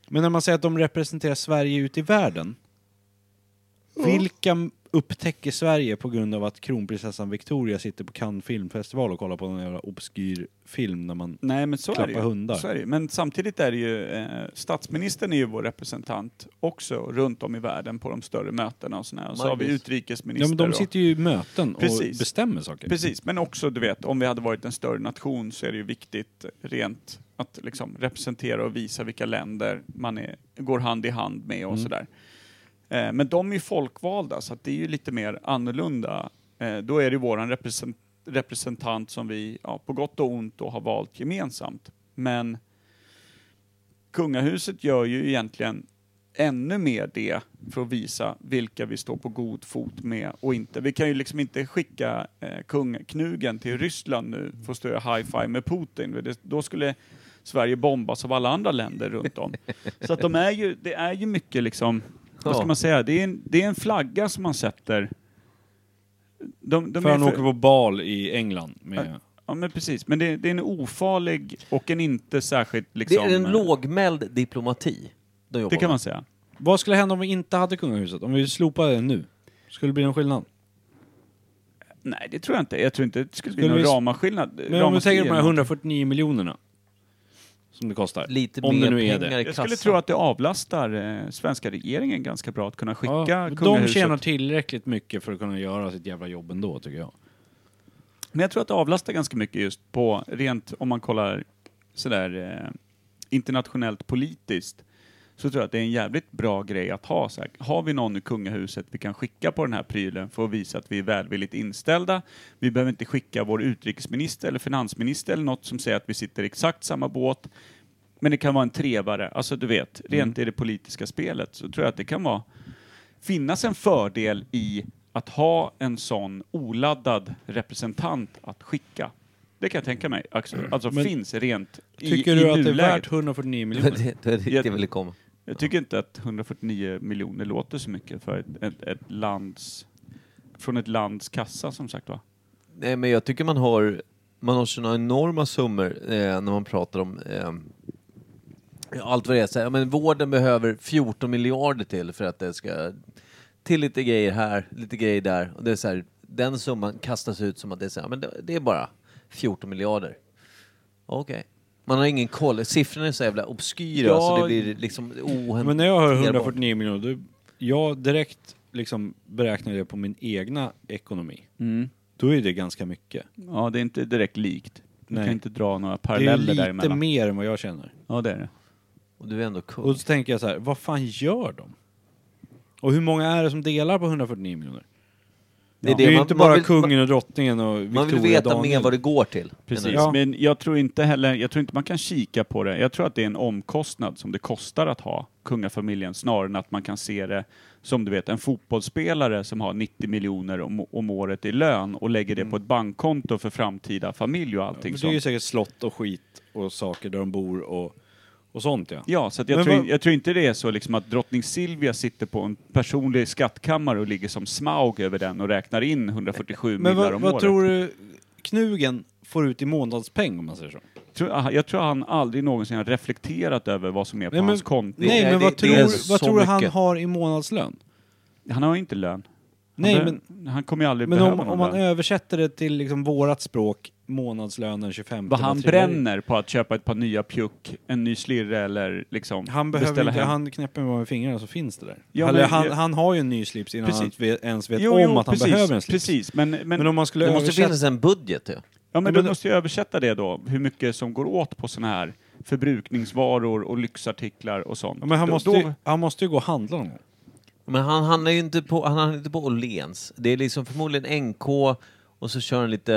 Speaker 2: Men när man säger att de representerar Sverige ute i världen. Vilka upptäcker Sverige på grund av att kronprinsessan Victoria sitter på Cannes filmfestival och kollar på någon jävla obskyr film när man...
Speaker 3: Nej men så är, det
Speaker 2: klappa
Speaker 3: ju.
Speaker 2: hundar.
Speaker 3: så är det ju. Men samtidigt är det ju, eh, statsministern är ju vår representant också runt om i världen på de större mötena och sådär. Och så har vi
Speaker 1: Margit.
Speaker 2: Ja, men
Speaker 3: utrikesminister
Speaker 2: de
Speaker 3: och-
Speaker 2: sitter ju i möten och
Speaker 3: Precis.
Speaker 2: bestämmer saker.
Speaker 3: Precis, men också du vet, om vi hade varit en större nation så är det ju viktigt rent att liksom representera och visa vilka länder man är, går hand i hand med
Speaker 2: Mm.
Speaker 3: och sådär. Eh, men de är ju folkvalda så att det är ju lite mer annorlunda. Eh, då är det ju våran represent representant som vi ja, på gott och ont då har valt gemensamt. Men kungahuset gör ju egentligen ännu mer det för att visa vilka vi står på god fot med och inte. Vi kan ju liksom inte skicka eh, kungaknugen till Ryssland nu för att stå och high-five med Putin. Det, då skulle Sverige bombas av alla andra länder
Speaker 1: (laughs)
Speaker 3: runt om. Så att de är ju, det är ju mycket liksom, vad ska
Speaker 1: Ja.
Speaker 3: man säga, det är en, det är en flagga som man sätter. De, de
Speaker 2: För
Speaker 3: är
Speaker 2: han
Speaker 3: för,
Speaker 2: åker på bal i England med...
Speaker 3: ja men precis, men det, det är en ofarlig och en inte särskilt
Speaker 1: Det
Speaker 3: liksom...
Speaker 1: är en
Speaker 3: eh,
Speaker 1: lågmäld diplomati. De jobbar
Speaker 3: det kan
Speaker 1: med.
Speaker 3: man säga.
Speaker 2: Vad skulle hända om vi inte hade kungahuset? Om vi slopade det nu? Skulle det bli någon skillnad?
Speaker 3: Nej, det tror jag inte. Jag tror inte det skulle bli
Speaker 2: Skulle
Speaker 3: någon
Speaker 2: vi-
Speaker 3: ramaskillnad.
Speaker 2: Men om vi
Speaker 3: Ramaskri
Speaker 2: tänker på de här
Speaker 3: eller något.
Speaker 2: 149 miljonerna. Som det kostar.
Speaker 1: Lite
Speaker 2: om
Speaker 1: mer
Speaker 2: det nu är
Speaker 1: pengar
Speaker 2: det.
Speaker 1: i
Speaker 3: Jag
Speaker 1: kassan.
Speaker 3: skulle
Speaker 1: (laughs)
Speaker 3: tro att det avlastar eh, svenska regeringen ganska bra att kunna skicka
Speaker 2: Ja, de
Speaker 3: kungahuset.
Speaker 2: tjänar tillräckligt mycket för att kunna göra sitt jävla jobb ändå tycker jag.
Speaker 3: Men jag tror att det avlastar ganska mycket just på, rent om man kollar sådär eh, internationellt politiskt, så tror jag att det är en jävligt bra grej att ha. Så här, har vi någon i kungahuset vi kan skicka på den här prylen för att visa att vi är välvilligt inställda. Vi behöver inte skicka vår utrikesminister eller finansminister eller något som säger att vi sitter i exakt samma båt. Men det kan vara en trevare, alltså du vet,
Speaker 2: Mm.
Speaker 3: rent i det politiska spelet så tror jag att det kan vara finnas en fördel i att ha en sån oladdad representant att skicka. Det kan jag tänka mig. Axel. Alltså
Speaker 2: Mm. Men
Speaker 3: finns rent i,
Speaker 2: Tycker
Speaker 3: i
Speaker 2: du att det är (laughs)
Speaker 3: nuläget.
Speaker 2: värt 149 miljoner?
Speaker 1: det, det är dit jag ville komma.
Speaker 3: Jag tycker inte att 149 miljoner låter så mycket för ett, ett, ett lands, från ett lands kassa som sagt va?
Speaker 1: Nej, men jag tycker man har, man har såna enorma summor eh, när man pratar om eh, allt vad det är. Så här, ja, men vården behöver 14 miljarder till för att det ska till lite grejer här, lite grejer där. Och det är så här, den summan kastas ut som att det är, så här, men det, det är bara 14 miljarder. Okej. Man har ingen koll. Siffrorna är så jävla obskyra
Speaker 2: Ja,
Speaker 1: så det blir liksom ohanterbart.
Speaker 2: Men när jag hör 149 miljoner, då jag direkt liksom beräknar det på min egna ekonomi. Då är det ganska mycket.
Speaker 3: Ja, det är inte direkt likt. Du
Speaker 2: Nej.
Speaker 3: kan inte dra några
Speaker 2: Det är
Speaker 3: paralleller
Speaker 2: lite
Speaker 3: däremellan.
Speaker 2: mer än vad jag känner.
Speaker 3: Ja, det är det.
Speaker 1: Och du är ändå kung.
Speaker 2: Och så tänker jag så här, vad fan gör de? Och hur många är det som delar på 149 miljoner?
Speaker 1: Det är
Speaker 2: Det är ju
Speaker 1: man-
Speaker 2: inte
Speaker 1: man
Speaker 2: bara
Speaker 1: vill-
Speaker 2: kungen och drottningen och
Speaker 1: Man
Speaker 2: Victoria
Speaker 1: vill veta
Speaker 2: Daniel.
Speaker 1: mer vad det går till.
Speaker 3: Precis,
Speaker 2: Ja.
Speaker 3: men jag tror inte heller, jag tror inte man kan kika på det. Jag tror att det är en omkostnad som det kostar att ha kungafamiljen snarare än att man kan se det som du vet en fotbollsspelare som har 90 miljoner om, om året i lön och lägger det på ett bankkonto för framtida familj och
Speaker 2: Men
Speaker 3: allting
Speaker 2: Mm. Det är
Speaker 3: sånt.
Speaker 2: ju säkert slott och skit och saker där de bor och, och sånt ja.
Speaker 3: Ja, så att jag,
Speaker 2: Men
Speaker 3: tror,
Speaker 2: vad-
Speaker 3: jag tror inte det är så liksom att drottning Silvia sitter på en personlig skattkammare och ligger som smaug över den och räknar in 147
Speaker 2: Men
Speaker 3: miljoner
Speaker 2: vad,
Speaker 3: om
Speaker 2: vad
Speaker 3: året.
Speaker 2: tror du Knugen får ut i månadspeng om man säger så?
Speaker 3: Tror- aha, jag tror han aldrig någonsin har reflekterat över vad som är på
Speaker 2: Nej, men-
Speaker 3: hans konto.
Speaker 2: Nej
Speaker 1: nej,
Speaker 2: men
Speaker 1: det-
Speaker 2: vad
Speaker 1: det är
Speaker 2: tror,
Speaker 1: så
Speaker 2: vad tror du han
Speaker 1: mycket.
Speaker 2: har i månadslön?
Speaker 3: Han har ju inte lön. Han
Speaker 2: Nej,
Speaker 3: behö- han kommer ju aldrig
Speaker 2: Men
Speaker 3: behöva
Speaker 2: om,
Speaker 3: någon
Speaker 2: om man
Speaker 3: lön.
Speaker 2: översätter det till liksom vårat språk, månadslönen 25
Speaker 3: Vad han
Speaker 2: trillar i.
Speaker 3: bränner på att köpa ett par nya pjuck, en ny slirre eller liksom
Speaker 2: Han behöver
Speaker 3: beställa
Speaker 2: inte,
Speaker 3: hem.
Speaker 2: han knäpper med fingrarna så finns det där.
Speaker 3: Ja,
Speaker 2: Eller
Speaker 3: men-
Speaker 2: han,
Speaker 3: ja.
Speaker 2: han har ju en ny slips innan
Speaker 3: Precis.
Speaker 2: han vet- ens vet
Speaker 3: Jo,
Speaker 2: om
Speaker 3: jo,
Speaker 2: att han
Speaker 3: precis,
Speaker 2: behöver en slips.
Speaker 3: Precis, men, men,
Speaker 2: Men om man skulle
Speaker 1: Det måste
Speaker 2: översätta...
Speaker 1: finnas en budget ju.
Speaker 3: ja, men
Speaker 2: men-
Speaker 3: du måste ju översätta det då, hur mycket som går åt på såna här förbrukningsvaror och lyxartiklar och sånt.
Speaker 2: Ja, men han,
Speaker 3: Då-
Speaker 2: måste
Speaker 3: då-
Speaker 2: ju, han måste ju gå och handla någon gång.
Speaker 1: Men han handlar ju inte på, han handlar inte på Åhléns. Det är liksom förmodligen NK och så kör han lite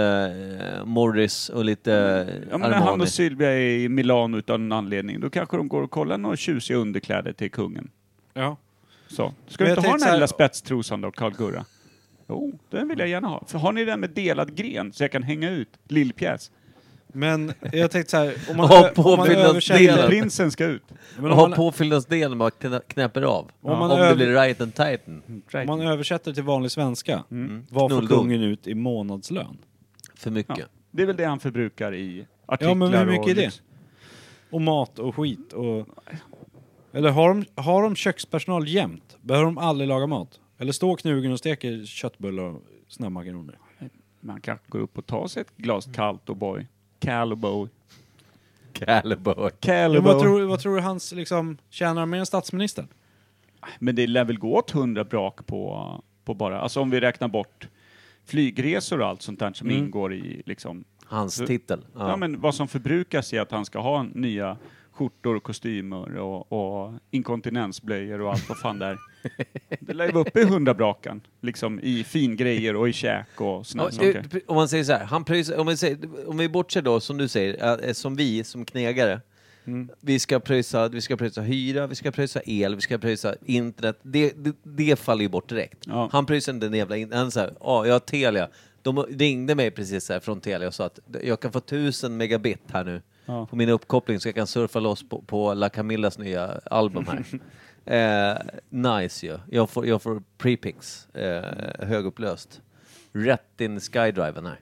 Speaker 1: eh, Morris och lite
Speaker 3: Ja,
Speaker 1: eh,
Speaker 3: men när han
Speaker 1: Armani.
Speaker 3: och Sylvia är i Milano utan en anledning, då kanske de går och kollar några tjusiga underkläder till kungen.
Speaker 2: Ja.
Speaker 3: Så. Ska
Speaker 2: Men
Speaker 3: du
Speaker 2: jag
Speaker 3: inte ha
Speaker 2: tänkte
Speaker 3: den
Speaker 2: så här-
Speaker 3: här lilla spetstrosan då, Karl Gurra? Jo, den vill jag gärna ha. För har ni den med delad gren så jag kan hänga ut lillpjäs?
Speaker 2: Men jag tänkte så här, om man,
Speaker 1: Ja,
Speaker 2: ö- om man
Speaker 1: påbyggnadsdelen.
Speaker 2: översätter...
Speaker 3: Prinsen ska ut.
Speaker 2: Men
Speaker 1: Och
Speaker 2: om man,
Speaker 1: har påfyllnadsdelen bara knä- knäpper av.
Speaker 2: Om
Speaker 1: Om,
Speaker 2: man över-
Speaker 1: det blir right and
Speaker 3: Mm.
Speaker 1: tighten.
Speaker 2: om man översätter till vanlig svenska, vad får
Speaker 1: Knulldog.
Speaker 2: kungen ut i månadslön?
Speaker 1: För mycket.
Speaker 3: Ja. Det är väl det han förbrukar i artiklar
Speaker 2: Ja, men hur
Speaker 3: och
Speaker 2: mycket är det?
Speaker 3: lyx.
Speaker 2: Och mat och skit och... Eller har de, har de kökspersonal jämt? Behöver de aldrig laga mat? Eller står knugen och steker köttbullar och snabbmakaroner?
Speaker 3: Man kanske går upp och tar sig ett glas kallt och boy. Caliboy.
Speaker 1: Caliber.
Speaker 2: Men vad,
Speaker 3: Caliboy.
Speaker 2: tror, vad tror du hans liksom, tjänar mer än statsministern?
Speaker 3: Men det lär väl gå åt hundra brak på, på bara, alltså om vi räknar bort flygresor och allt sånt där som ingår i liksom,
Speaker 1: Hans titel.
Speaker 3: ja. men vad som förbrukas är att han ska ha nya skjortor och kostymer och, och inkontinensblöjor och allt vad fan där. Det lär ju vara uppe i hundra brakan, liksom i fingrejer och i käk och såna här
Speaker 1: Ja,
Speaker 3: saker.
Speaker 1: eh, Om man säger så här, han pröjsar, om, vi säger, om vi bortser då som du säger, eh, eh, som vi som knegare.
Speaker 3: Mm.
Speaker 1: Vi, ska pröjsa, vi ska pröjsa hyra, vi ska pröjsa el, vi ska pröjsa internet. Det, det, det faller ju bort direkt.
Speaker 3: Ja.
Speaker 1: Han pröjsar inte den jävla... in- Han säger, ja, jag har Telia. De ringde mig precis här från Telia och sa att jag kan få 1000 megabit här nu
Speaker 3: Ja.
Speaker 1: på min uppkoppling så jag kan surfa loss på, på La Camillas nya album här. eh, nice ju. Jag får, jag får prepix eh, högupplöst. Rätt in i skydriven här.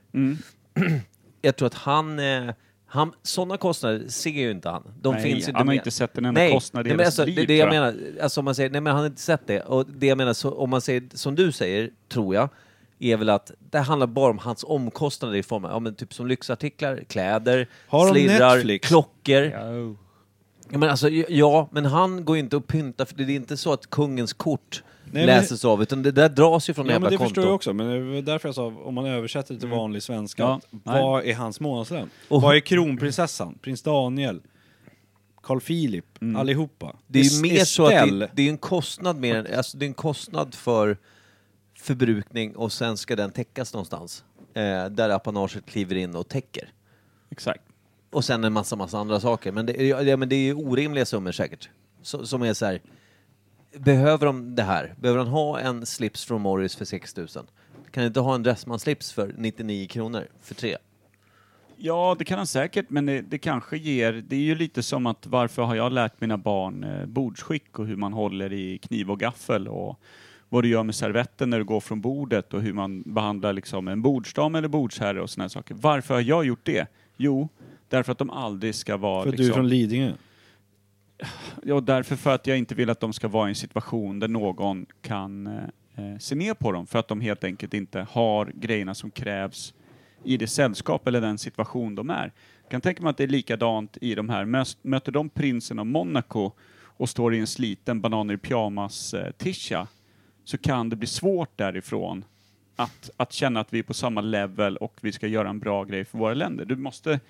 Speaker 1: jag tror att han... Eh, han, sådana kostnader ser ju inte han. De
Speaker 3: Nej,
Speaker 1: finns inte
Speaker 3: han har
Speaker 1: med.
Speaker 3: inte sett en enda kostnad
Speaker 1: nej,
Speaker 3: i
Speaker 1: men
Speaker 3: hela
Speaker 1: alltså,
Speaker 3: sitt
Speaker 1: det,
Speaker 3: liv,
Speaker 1: det jag
Speaker 3: tror jag.
Speaker 1: menar, alltså om man säger, nej men han har inte sett det. Och det jag menar, så, om man säger som du säger, tror jag, är väl att det handlar bara om hans omkostnader i form av, ja men typ som lyxartiklar, kläder,
Speaker 2: Har de
Speaker 1: slirrar,
Speaker 2: Netflix?
Speaker 1: klockor. Ja, men alltså, j- ja, men han går ju inte och pyntar, för det är inte så att kungens kort
Speaker 2: men-
Speaker 1: läses av, utan det där dras ju från
Speaker 2: Ja,
Speaker 1: jävla
Speaker 2: men det
Speaker 1: konto.
Speaker 2: förstår jag också, men det var därför jag sa om man översätter det till vanlig svenska,
Speaker 3: Ja,
Speaker 2: att
Speaker 3: nej.
Speaker 2: vad är hans månadslön?
Speaker 1: Och-
Speaker 2: Vad är kronprinsessan, prins Daniel, Carl Philip, allihopa?
Speaker 1: Det är ju
Speaker 2: Es-
Speaker 1: mer så att
Speaker 2: Estelle.
Speaker 1: det, det är en kostnad mer än, alltså det är en kostnad för förbrukning och sen ska den täckas någonstans. Eh, där apanaget kliver in och täcker.
Speaker 3: Exakt.
Speaker 1: Och sen en massa, massa andra saker. Men det, är- ja, men det är ju orimliga summor säkert. Så, som är så här. Behöver de det här? Behöver han ha en slips från Morris för 6 000? Kan han inte ha en Dressman-slips för 99 kronor för tre?
Speaker 3: Ja, det kan han säkert, men det, det kanske ger... Det är ju lite som att varför har jag lärt mina barn eh, bordsskick och hur man håller i kniv och gaffel och vad du gör med servetten när du går från bordet och hur man behandlar liksom en bordsdam eller bordsherre och såna här saker. Varför har jag gjort det? Jo, därför att de aldrig ska vara...
Speaker 2: För att du är
Speaker 3: liksom,
Speaker 2: från Lidingö.
Speaker 3: Ja, och därför för att jag inte vill att de ska vara i en situation där någon kan eh, eh, se ner på dem. För att de helt enkelt inte har grejerna som krävs i det sällskap eller den situation de är. Jag kan tänka mig att det är likadant i de här. Mös- Möter de prinsen av Monaco och står i en sliten bananer i pyjamas-tisha så kan det bli svårt därifrån att, att känna att vi är på samma level och vi ska göra en bra grej för våra länder. Du måste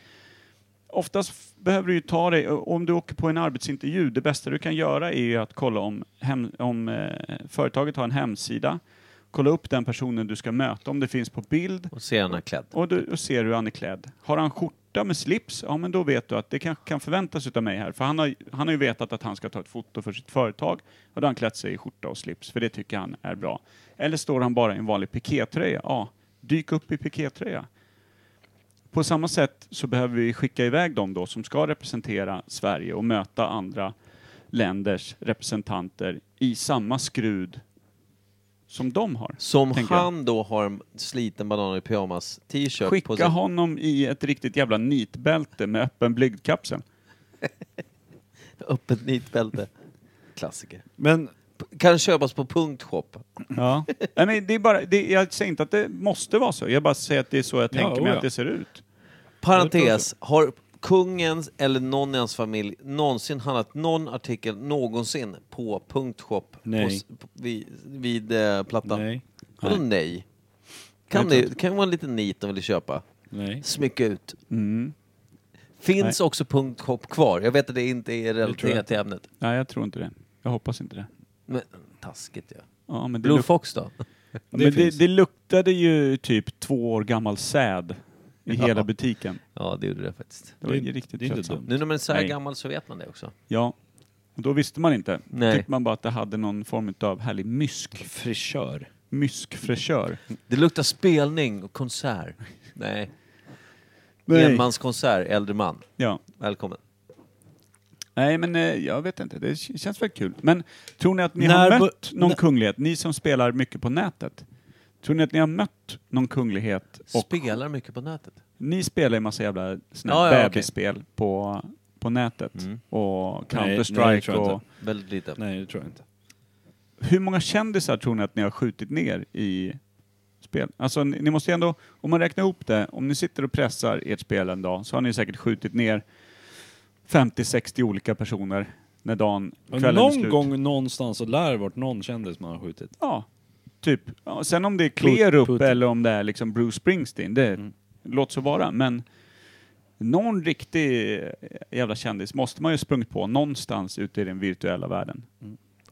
Speaker 3: oftast f- behöver du ju ta dig, och om du åker på en arbetsintervju, det bästa du kan göra är ju att kolla om, hem, om eh, företaget har en hemsida, kolla upp den personen du ska möta, om det finns på bild
Speaker 1: Och se henne klädd.
Speaker 3: och du och ser hur han är klädd. Har han skjorta med slips, ja men då vet du att det kan, kan förväntas utav mig här, för han har, han har ju vetat att han ska ta ett foto för sitt företag och då har han klätt sig i skjorta och slips, för det tycker han är bra. Eller står han bara i en vanlig pikétröja, ja, dyk upp i pikétröja. På samma sätt så behöver vi skicka iväg dem då som ska representera Sverige och möta andra länders representanter i samma skrud som de har.
Speaker 1: Som
Speaker 3: tänker jag.
Speaker 1: han då har en sliten banan i pyjamas t-shirt på sig.
Speaker 3: Skicka honom i ett riktigt jävla nitbälte med öppen blygdkapsel.
Speaker 1: Öppet nitbälte. Klassiker.
Speaker 2: Men
Speaker 1: Kan köpas på punktshop.
Speaker 3: Ja. Nej, men det är bara, det, jag säger inte att det måste vara så, jag bara säger att det är så jag tänker mig
Speaker 2: oja.
Speaker 3: att det ser ut.
Speaker 1: Parentes, har kungens eller någon i hans familj någonsin handlat någon artikel någonsin på punktshop
Speaker 2: Nej.
Speaker 1: På, s- på- vid, vid eh, Plattan?
Speaker 2: nej,
Speaker 1: Vadå nej? Kan
Speaker 2: Nej,
Speaker 1: det kan ju vara en liten nit de vill köpa.
Speaker 2: nej.
Speaker 1: Smycka ut. Finns också punktshop kvar? Jag vet att det inte är relaterat till ämnet.
Speaker 3: Nej, jag tror inte det. Jag hoppas inte det.
Speaker 1: Men taskigt ja.
Speaker 3: Ja, men det,
Speaker 1: Blue
Speaker 3: luk-
Speaker 1: Fox då?
Speaker 3: men det, det luktade ju typ två år gammal säd i
Speaker 1: Ja.
Speaker 3: hela butiken.
Speaker 1: Ja, det gjorde det faktiskt.
Speaker 3: Det var
Speaker 2: Det-
Speaker 3: ju riktigt
Speaker 2: det är inte
Speaker 3: tröttsamt.
Speaker 2: dumt.
Speaker 1: Nu när man är så här
Speaker 3: Nej.
Speaker 1: gammal så vet man det också.
Speaker 3: Ja. Och då visste man inte.
Speaker 1: Nej.
Speaker 3: Tyckte man bara att det hade någon form av härlig mysk.
Speaker 2: Frisör.
Speaker 3: Myskfräschör.
Speaker 1: Det luktar spelning och konsert. Nej.
Speaker 3: Nej.
Speaker 1: Enmanskonsert, äldre man.
Speaker 3: Ja.
Speaker 1: Välkommen.
Speaker 3: Nej, men eh, jag vet inte. Det k- känns väl kul. Men tror ni att ni
Speaker 2: När
Speaker 3: har
Speaker 2: bu-
Speaker 3: mött någon
Speaker 2: när-
Speaker 3: kunglighet? Ni som spelar mycket på nätet. Tror ni att ni har mött någon kunglighet? Och
Speaker 1: Spelar mycket på nätet.
Speaker 3: ni spelar ju massa jävla såna
Speaker 1: Ja,
Speaker 3: här
Speaker 1: ja, okej.
Speaker 3: bebisspel på, på nätet. Och
Speaker 2: Mm. nej, det
Speaker 3: Counter-Strike
Speaker 2: tror jag
Speaker 3: och...
Speaker 2: inte.
Speaker 1: Väldigt lite.
Speaker 2: Nej, det tror jag inte.
Speaker 3: Hur många kändisar tror ni att ni har skjutit ner i spel? Alltså, ni, ni måste ju ändå... Om man räknar ihop det, om ni sitter och pressar ert spel en dag så har ni säkert skjutit ner 50-60 olika personer när dagen, kvällen är
Speaker 2: någon
Speaker 3: slut.
Speaker 2: gång någonstans så lär det varit någon kändis man har skjutit.
Speaker 3: Ja, typ. Ja, sen om det är
Speaker 2: Put- Mm.
Speaker 3: Kleerup
Speaker 2: Putin.
Speaker 3: eller om det är liksom Bruce Springsteen, det låt så vara. Men någon riktig jävla kändis måste man ju sprungit på någonstans ute i den virtuella världen.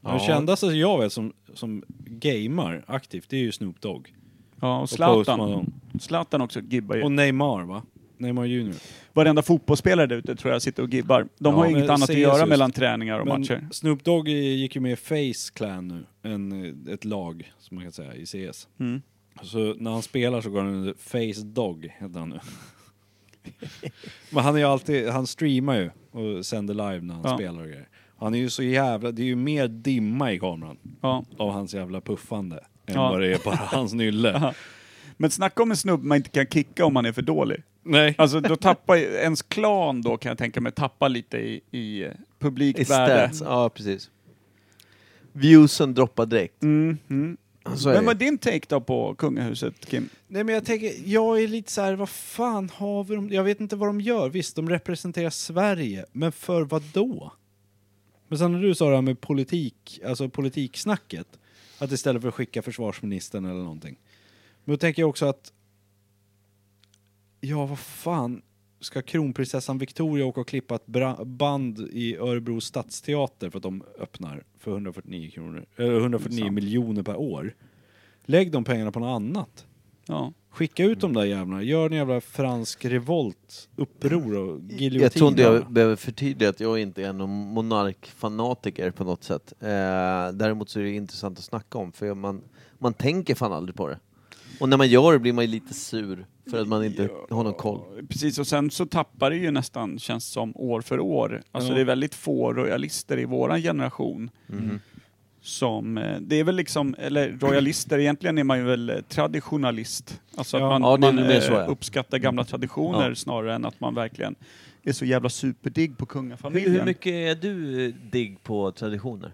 Speaker 2: Ja. Det kändaste jag vet som, som gamer aktivt, det är ju Snoop Dogg.
Speaker 3: Ja, och
Speaker 2: Post
Speaker 3: Zlatan.
Speaker 2: Malone.
Speaker 3: Zlatan också gibbar ju.
Speaker 2: Och Neymar va? Neymar Junior.
Speaker 3: Varenda fotbollsspelare där ute tror jag sitter och gibbar. De
Speaker 2: Ja,
Speaker 3: har ju
Speaker 2: men
Speaker 3: inget annat att
Speaker 2: ses
Speaker 3: göra
Speaker 2: just.
Speaker 3: mellan träningar och matcher.
Speaker 2: Men Snoop Dogg gick ju med i Face Clan nu, en, ett lag som man kan säga i CS.
Speaker 3: Mm.
Speaker 2: Så när han spelar så går han under Face Dog, heter han
Speaker 3: (laughs)
Speaker 2: nu. Men han är ju alltid, han streamar ju och sänder live när han
Speaker 3: Ja.
Speaker 2: spelar och grejer. Han är ju så jävla, det är ju mer dimma i kameran
Speaker 3: Ja.
Speaker 2: av hans jävla puffande än
Speaker 3: Ja.
Speaker 2: vad det
Speaker 3: (laughs)
Speaker 2: är bara hans nylle.
Speaker 3: Men snacka om en snubbe man inte kan kicka om man är för dålig.
Speaker 2: Nej.
Speaker 3: Alltså då tappar ju- ens klan då kan jag tänka mig tappar lite i, i
Speaker 1: I
Speaker 3: publikvärde.
Speaker 1: stats, ja precis. Viewsen droppar direkt.
Speaker 3: Mm, mm.
Speaker 1: Så är
Speaker 3: Vem var
Speaker 1: det.
Speaker 3: din take då på kungahuset, Kim?
Speaker 2: Nej men jag tänker, jag är lite så här, vad fan har vi dem? Jag vet inte vad de gör. Visst, de representerar Sverige, men för vad då? Men sen när du sa det här med politik, alltså politiksnacket, att istället för att skicka försvarsministern eller någonting. Men då tänker jag också att, ja vad fan, ska kronprinsessan Victoria åka och klippa ett bra- band i Örebro stadsteater för att de öppnar för 149, kronor, eller 149
Speaker 3: Sant.
Speaker 2: miljoner per år? Lägg de pengarna på något annat.
Speaker 3: Ja.
Speaker 2: Skicka ut de där jävlarna. Gör en jävla fransk revolt, uppror och giljotin.
Speaker 1: Jag tror inte jag behöver förtydliga att jag inte är någon monarkfanatiker på något sätt. Eh, däremot så är det intressant att snacka om för man, man tänker fan aldrig på det. Och när man gör det blir man ju lite sur för att man inte har någon koll.
Speaker 3: Precis, och sen så tappar det ju nästan, känns som, år för år. Alltså
Speaker 2: Ja.
Speaker 3: det är väldigt få royalister i våran generation.
Speaker 1: Mm.
Speaker 3: Som, eh, det är väl liksom, eller royalister, egentligen är man ju väl eh, traditionalist. Alltså
Speaker 2: Ja.
Speaker 3: att man,
Speaker 1: Ja, det är
Speaker 3: man
Speaker 1: mer
Speaker 3: eh,
Speaker 1: så, ja.
Speaker 3: uppskattar gamla traditioner
Speaker 1: Ja.
Speaker 3: snarare än att man verkligen är så jävla superdigg på
Speaker 1: Hur,
Speaker 3: kungafamiljen.
Speaker 1: hur mycket är du eh, digg på traditioner?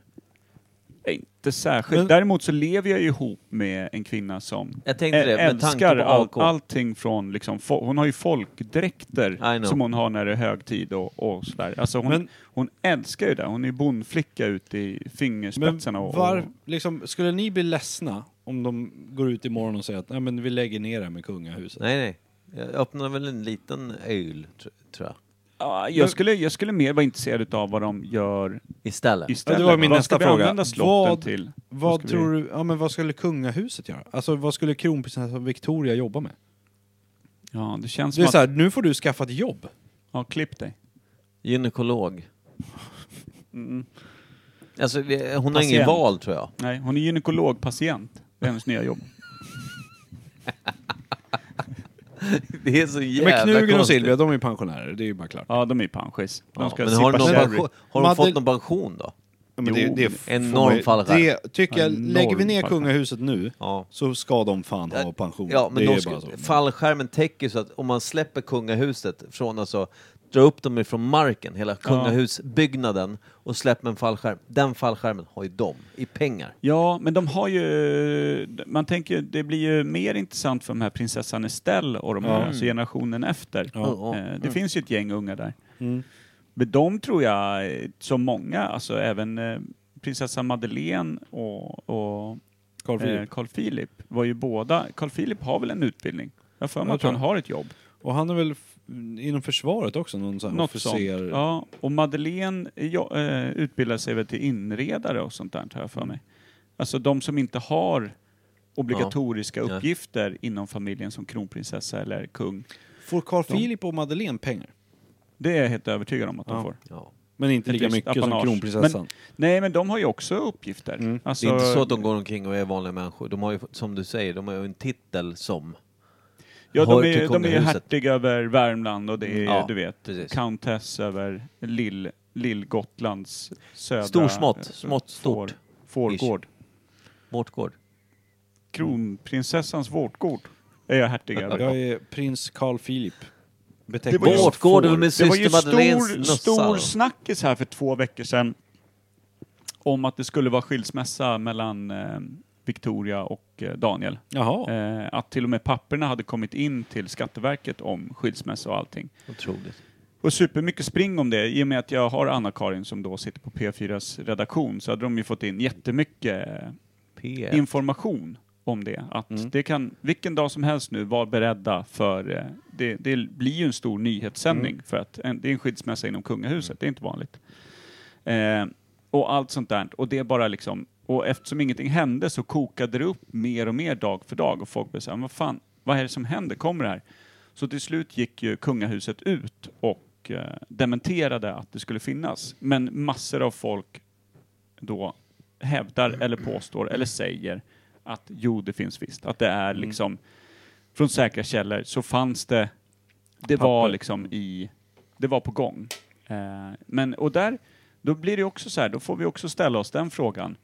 Speaker 3: Nej, Inte särskilt.
Speaker 2: Men-
Speaker 3: Däremot så lever jag ju ihop med en kvinna som
Speaker 1: Jag tänkte det,
Speaker 3: Ä-
Speaker 1: med tanke
Speaker 3: älskar
Speaker 1: på
Speaker 3: all,
Speaker 1: AK.
Speaker 3: allting från liksom, fo- hon har ju folkdräkter
Speaker 1: know.
Speaker 3: som hon har när det är högtid och, och sådär. Alltså hon,
Speaker 2: Men-
Speaker 3: hon älskar ju det, hon är ju bondflicka ute i
Speaker 2: Men
Speaker 3: fingerspetsarna. och, och,
Speaker 2: var, liksom, skulle ni bli ledsna om de går ut imorgon och säger att Nej, men vi lägger ner det här med kungahuset?
Speaker 1: Nej, nej. Jag öppnar väl en liten öl, tr- tror jag.
Speaker 3: Ja, jag, skulle, jag skulle mer vara intresserad av vad de gör
Speaker 1: Istället.
Speaker 3: istället.
Speaker 2: Ja, det var min
Speaker 3: vad
Speaker 2: nästa
Speaker 3: ska vi
Speaker 2: fråga.
Speaker 3: använda slotten
Speaker 2: Vad-
Speaker 3: till?
Speaker 2: Vad
Speaker 3: ska
Speaker 2: tror du, ja men vad skulle kungahuset göra? Alltså vad skulle kronprinsessan Victoria jobba med?
Speaker 3: Ja, det känns
Speaker 2: Det är
Speaker 3: som
Speaker 2: så
Speaker 3: att...
Speaker 2: här, nu får du skaffa ett jobb.
Speaker 3: Ja, klipp dig.
Speaker 1: Gynekolog. Alltså, vi- hon har
Speaker 3: Patient.
Speaker 1: ingen val, tror jag.
Speaker 3: Nej, hon är gynekologpatient. Det är hennes nya jobb.
Speaker 1: Det är så jävla
Speaker 2: men Knugen och
Speaker 1: konstigt.
Speaker 2: Silvia, de är ju pensionärer, det är ju bara klart.
Speaker 3: Ja, de är ju panschis. De
Speaker 1: Ja,
Speaker 3: ska
Speaker 1: men har, hon
Speaker 3: sippa
Speaker 1: någon
Speaker 3: sherry.
Speaker 1: pension, har hon
Speaker 2: Madel-
Speaker 1: fått någon pension då?
Speaker 2: men
Speaker 3: Jo,
Speaker 1: enorm
Speaker 2: får man ju-
Speaker 1: fallskärm.
Speaker 2: Det tycker jag,
Speaker 3: Enorm
Speaker 2: lägger vi ner
Speaker 3: fallskärm.
Speaker 2: kungahuset nu
Speaker 1: Ja.
Speaker 2: så ska de fan ha pension.
Speaker 1: Ja, men
Speaker 2: det
Speaker 1: de
Speaker 2: är
Speaker 1: ska,
Speaker 2: bara så.
Speaker 1: fallskärmen täcker så att om man släpper kungahuset från, alltså dra upp dem ifrån marken, hela kungahusbyggnaden och släpper en fallskärm. Den fallskärmen har ju de i pengar.
Speaker 3: Ja, men de har ju... Man tänker ju- det blir ju mer intressant för de här prinsessan Estelle och de här, alltså generationen efter.
Speaker 1: Ja.
Speaker 3: Eh, Det
Speaker 2: Mm.
Speaker 3: finns ju ett gäng unga där. Men de tror jag, eh, som många, alltså även eh, prinsessan Madeleine och, och
Speaker 2: Carl
Speaker 3: eh,
Speaker 2: Philip.
Speaker 3: Carl Philip var ju båda... Carl Philip har väl en utbildning? Jag har för mig
Speaker 2: Jag
Speaker 3: att
Speaker 2: tror
Speaker 3: han har ett jobb.
Speaker 2: Och han är väl f- inom försvaret också, någon sån här
Speaker 3: Något
Speaker 2: officer.
Speaker 3: sånt. Ja, och Madeleine eh, ja, eh, utbildar sig väl till inredare och sånt där, har jag för mig. Alltså de som inte har obligatoriska
Speaker 1: Ja.
Speaker 3: uppgifter inom familjen som kronprinsessa eller kung.
Speaker 2: Får Carl Philip och Madeleine pengar?
Speaker 3: Det är jag helt övertygad om att de får.
Speaker 1: Ja.
Speaker 2: Men inte
Speaker 3: Ett
Speaker 2: lika
Speaker 3: visst
Speaker 2: mycket
Speaker 3: apanage.
Speaker 2: som kronprinsessan.
Speaker 3: Men, nej, men de har ju också uppgifter.
Speaker 1: Mm. Det
Speaker 3: Alltså,
Speaker 1: är inte så att de går omkring och är vanliga människor. De har ju, som du säger, de har ju en titel som...
Speaker 3: ja,
Speaker 1: hör till
Speaker 3: de är, de är ju
Speaker 1: kungahuset.
Speaker 3: hertig över Värmland och det är,
Speaker 1: Ja,
Speaker 3: du vet,
Speaker 1: precis.
Speaker 3: countess över Lill, Lill-Gotlands södra...
Speaker 1: Storsmått,
Speaker 3: eh,
Speaker 1: smått, stort.
Speaker 3: Får,
Speaker 1: Ish.
Speaker 3: fårgård.
Speaker 1: Mårtgård.
Speaker 3: Kronprinsessans vårtgård är jag hertig
Speaker 2: (laughs)
Speaker 3: över.
Speaker 2: Jag är prins Carl Philip.
Speaker 3: Det var ju-
Speaker 1: Mårtgård är väl min
Speaker 3: Det var ju
Speaker 1: syster Madeleines
Speaker 3: stor, stor
Speaker 1: nussar.
Speaker 3: snackis här för två veckor sedan om att det skulle vara skilsmässa mellan eh, Victoria och eh, Daniel.
Speaker 2: Jaha.
Speaker 3: Eh, att till och med papperna hade kommit in till Skatteverket om skilsmässa och allting.
Speaker 1: Otroligt.
Speaker 3: Och supermycket spring om det. I och med att jag har Anna-Karin som då sitter på P4s redaktion så hade de ju fått in jättemycket eh,
Speaker 1: P.
Speaker 3: information om det. Att det kan, vilken dag som helst nu, var beredda för... eh, Det, det blir ju en stor nyhetssändning för att en, det är en skilsmässa inom kungahuset, det är inte vanligt. Eh, och allt sånt där. Och det är bara liksom... Och eftersom ingenting hände så kokade det upp mer och mer dag för dag och folk blev såhär, vad fan, vad är det som händer? Kommer det här? Så till slut gick ju kungahuset ut och eh, dementerade att det skulle finnas. Men massor av folk då
Speaker 1: Mm.
Speaker 3: hävdar eller påstår eller säger att jo, det finns visst. Att det är
Speaker 1: Mm.
Speaker 3: liksom, från säkra källor så fanns det, det var liksom i, det var på gång. Eh, men, och där, då blir det också så här, då får vi också ställa oss den frågan.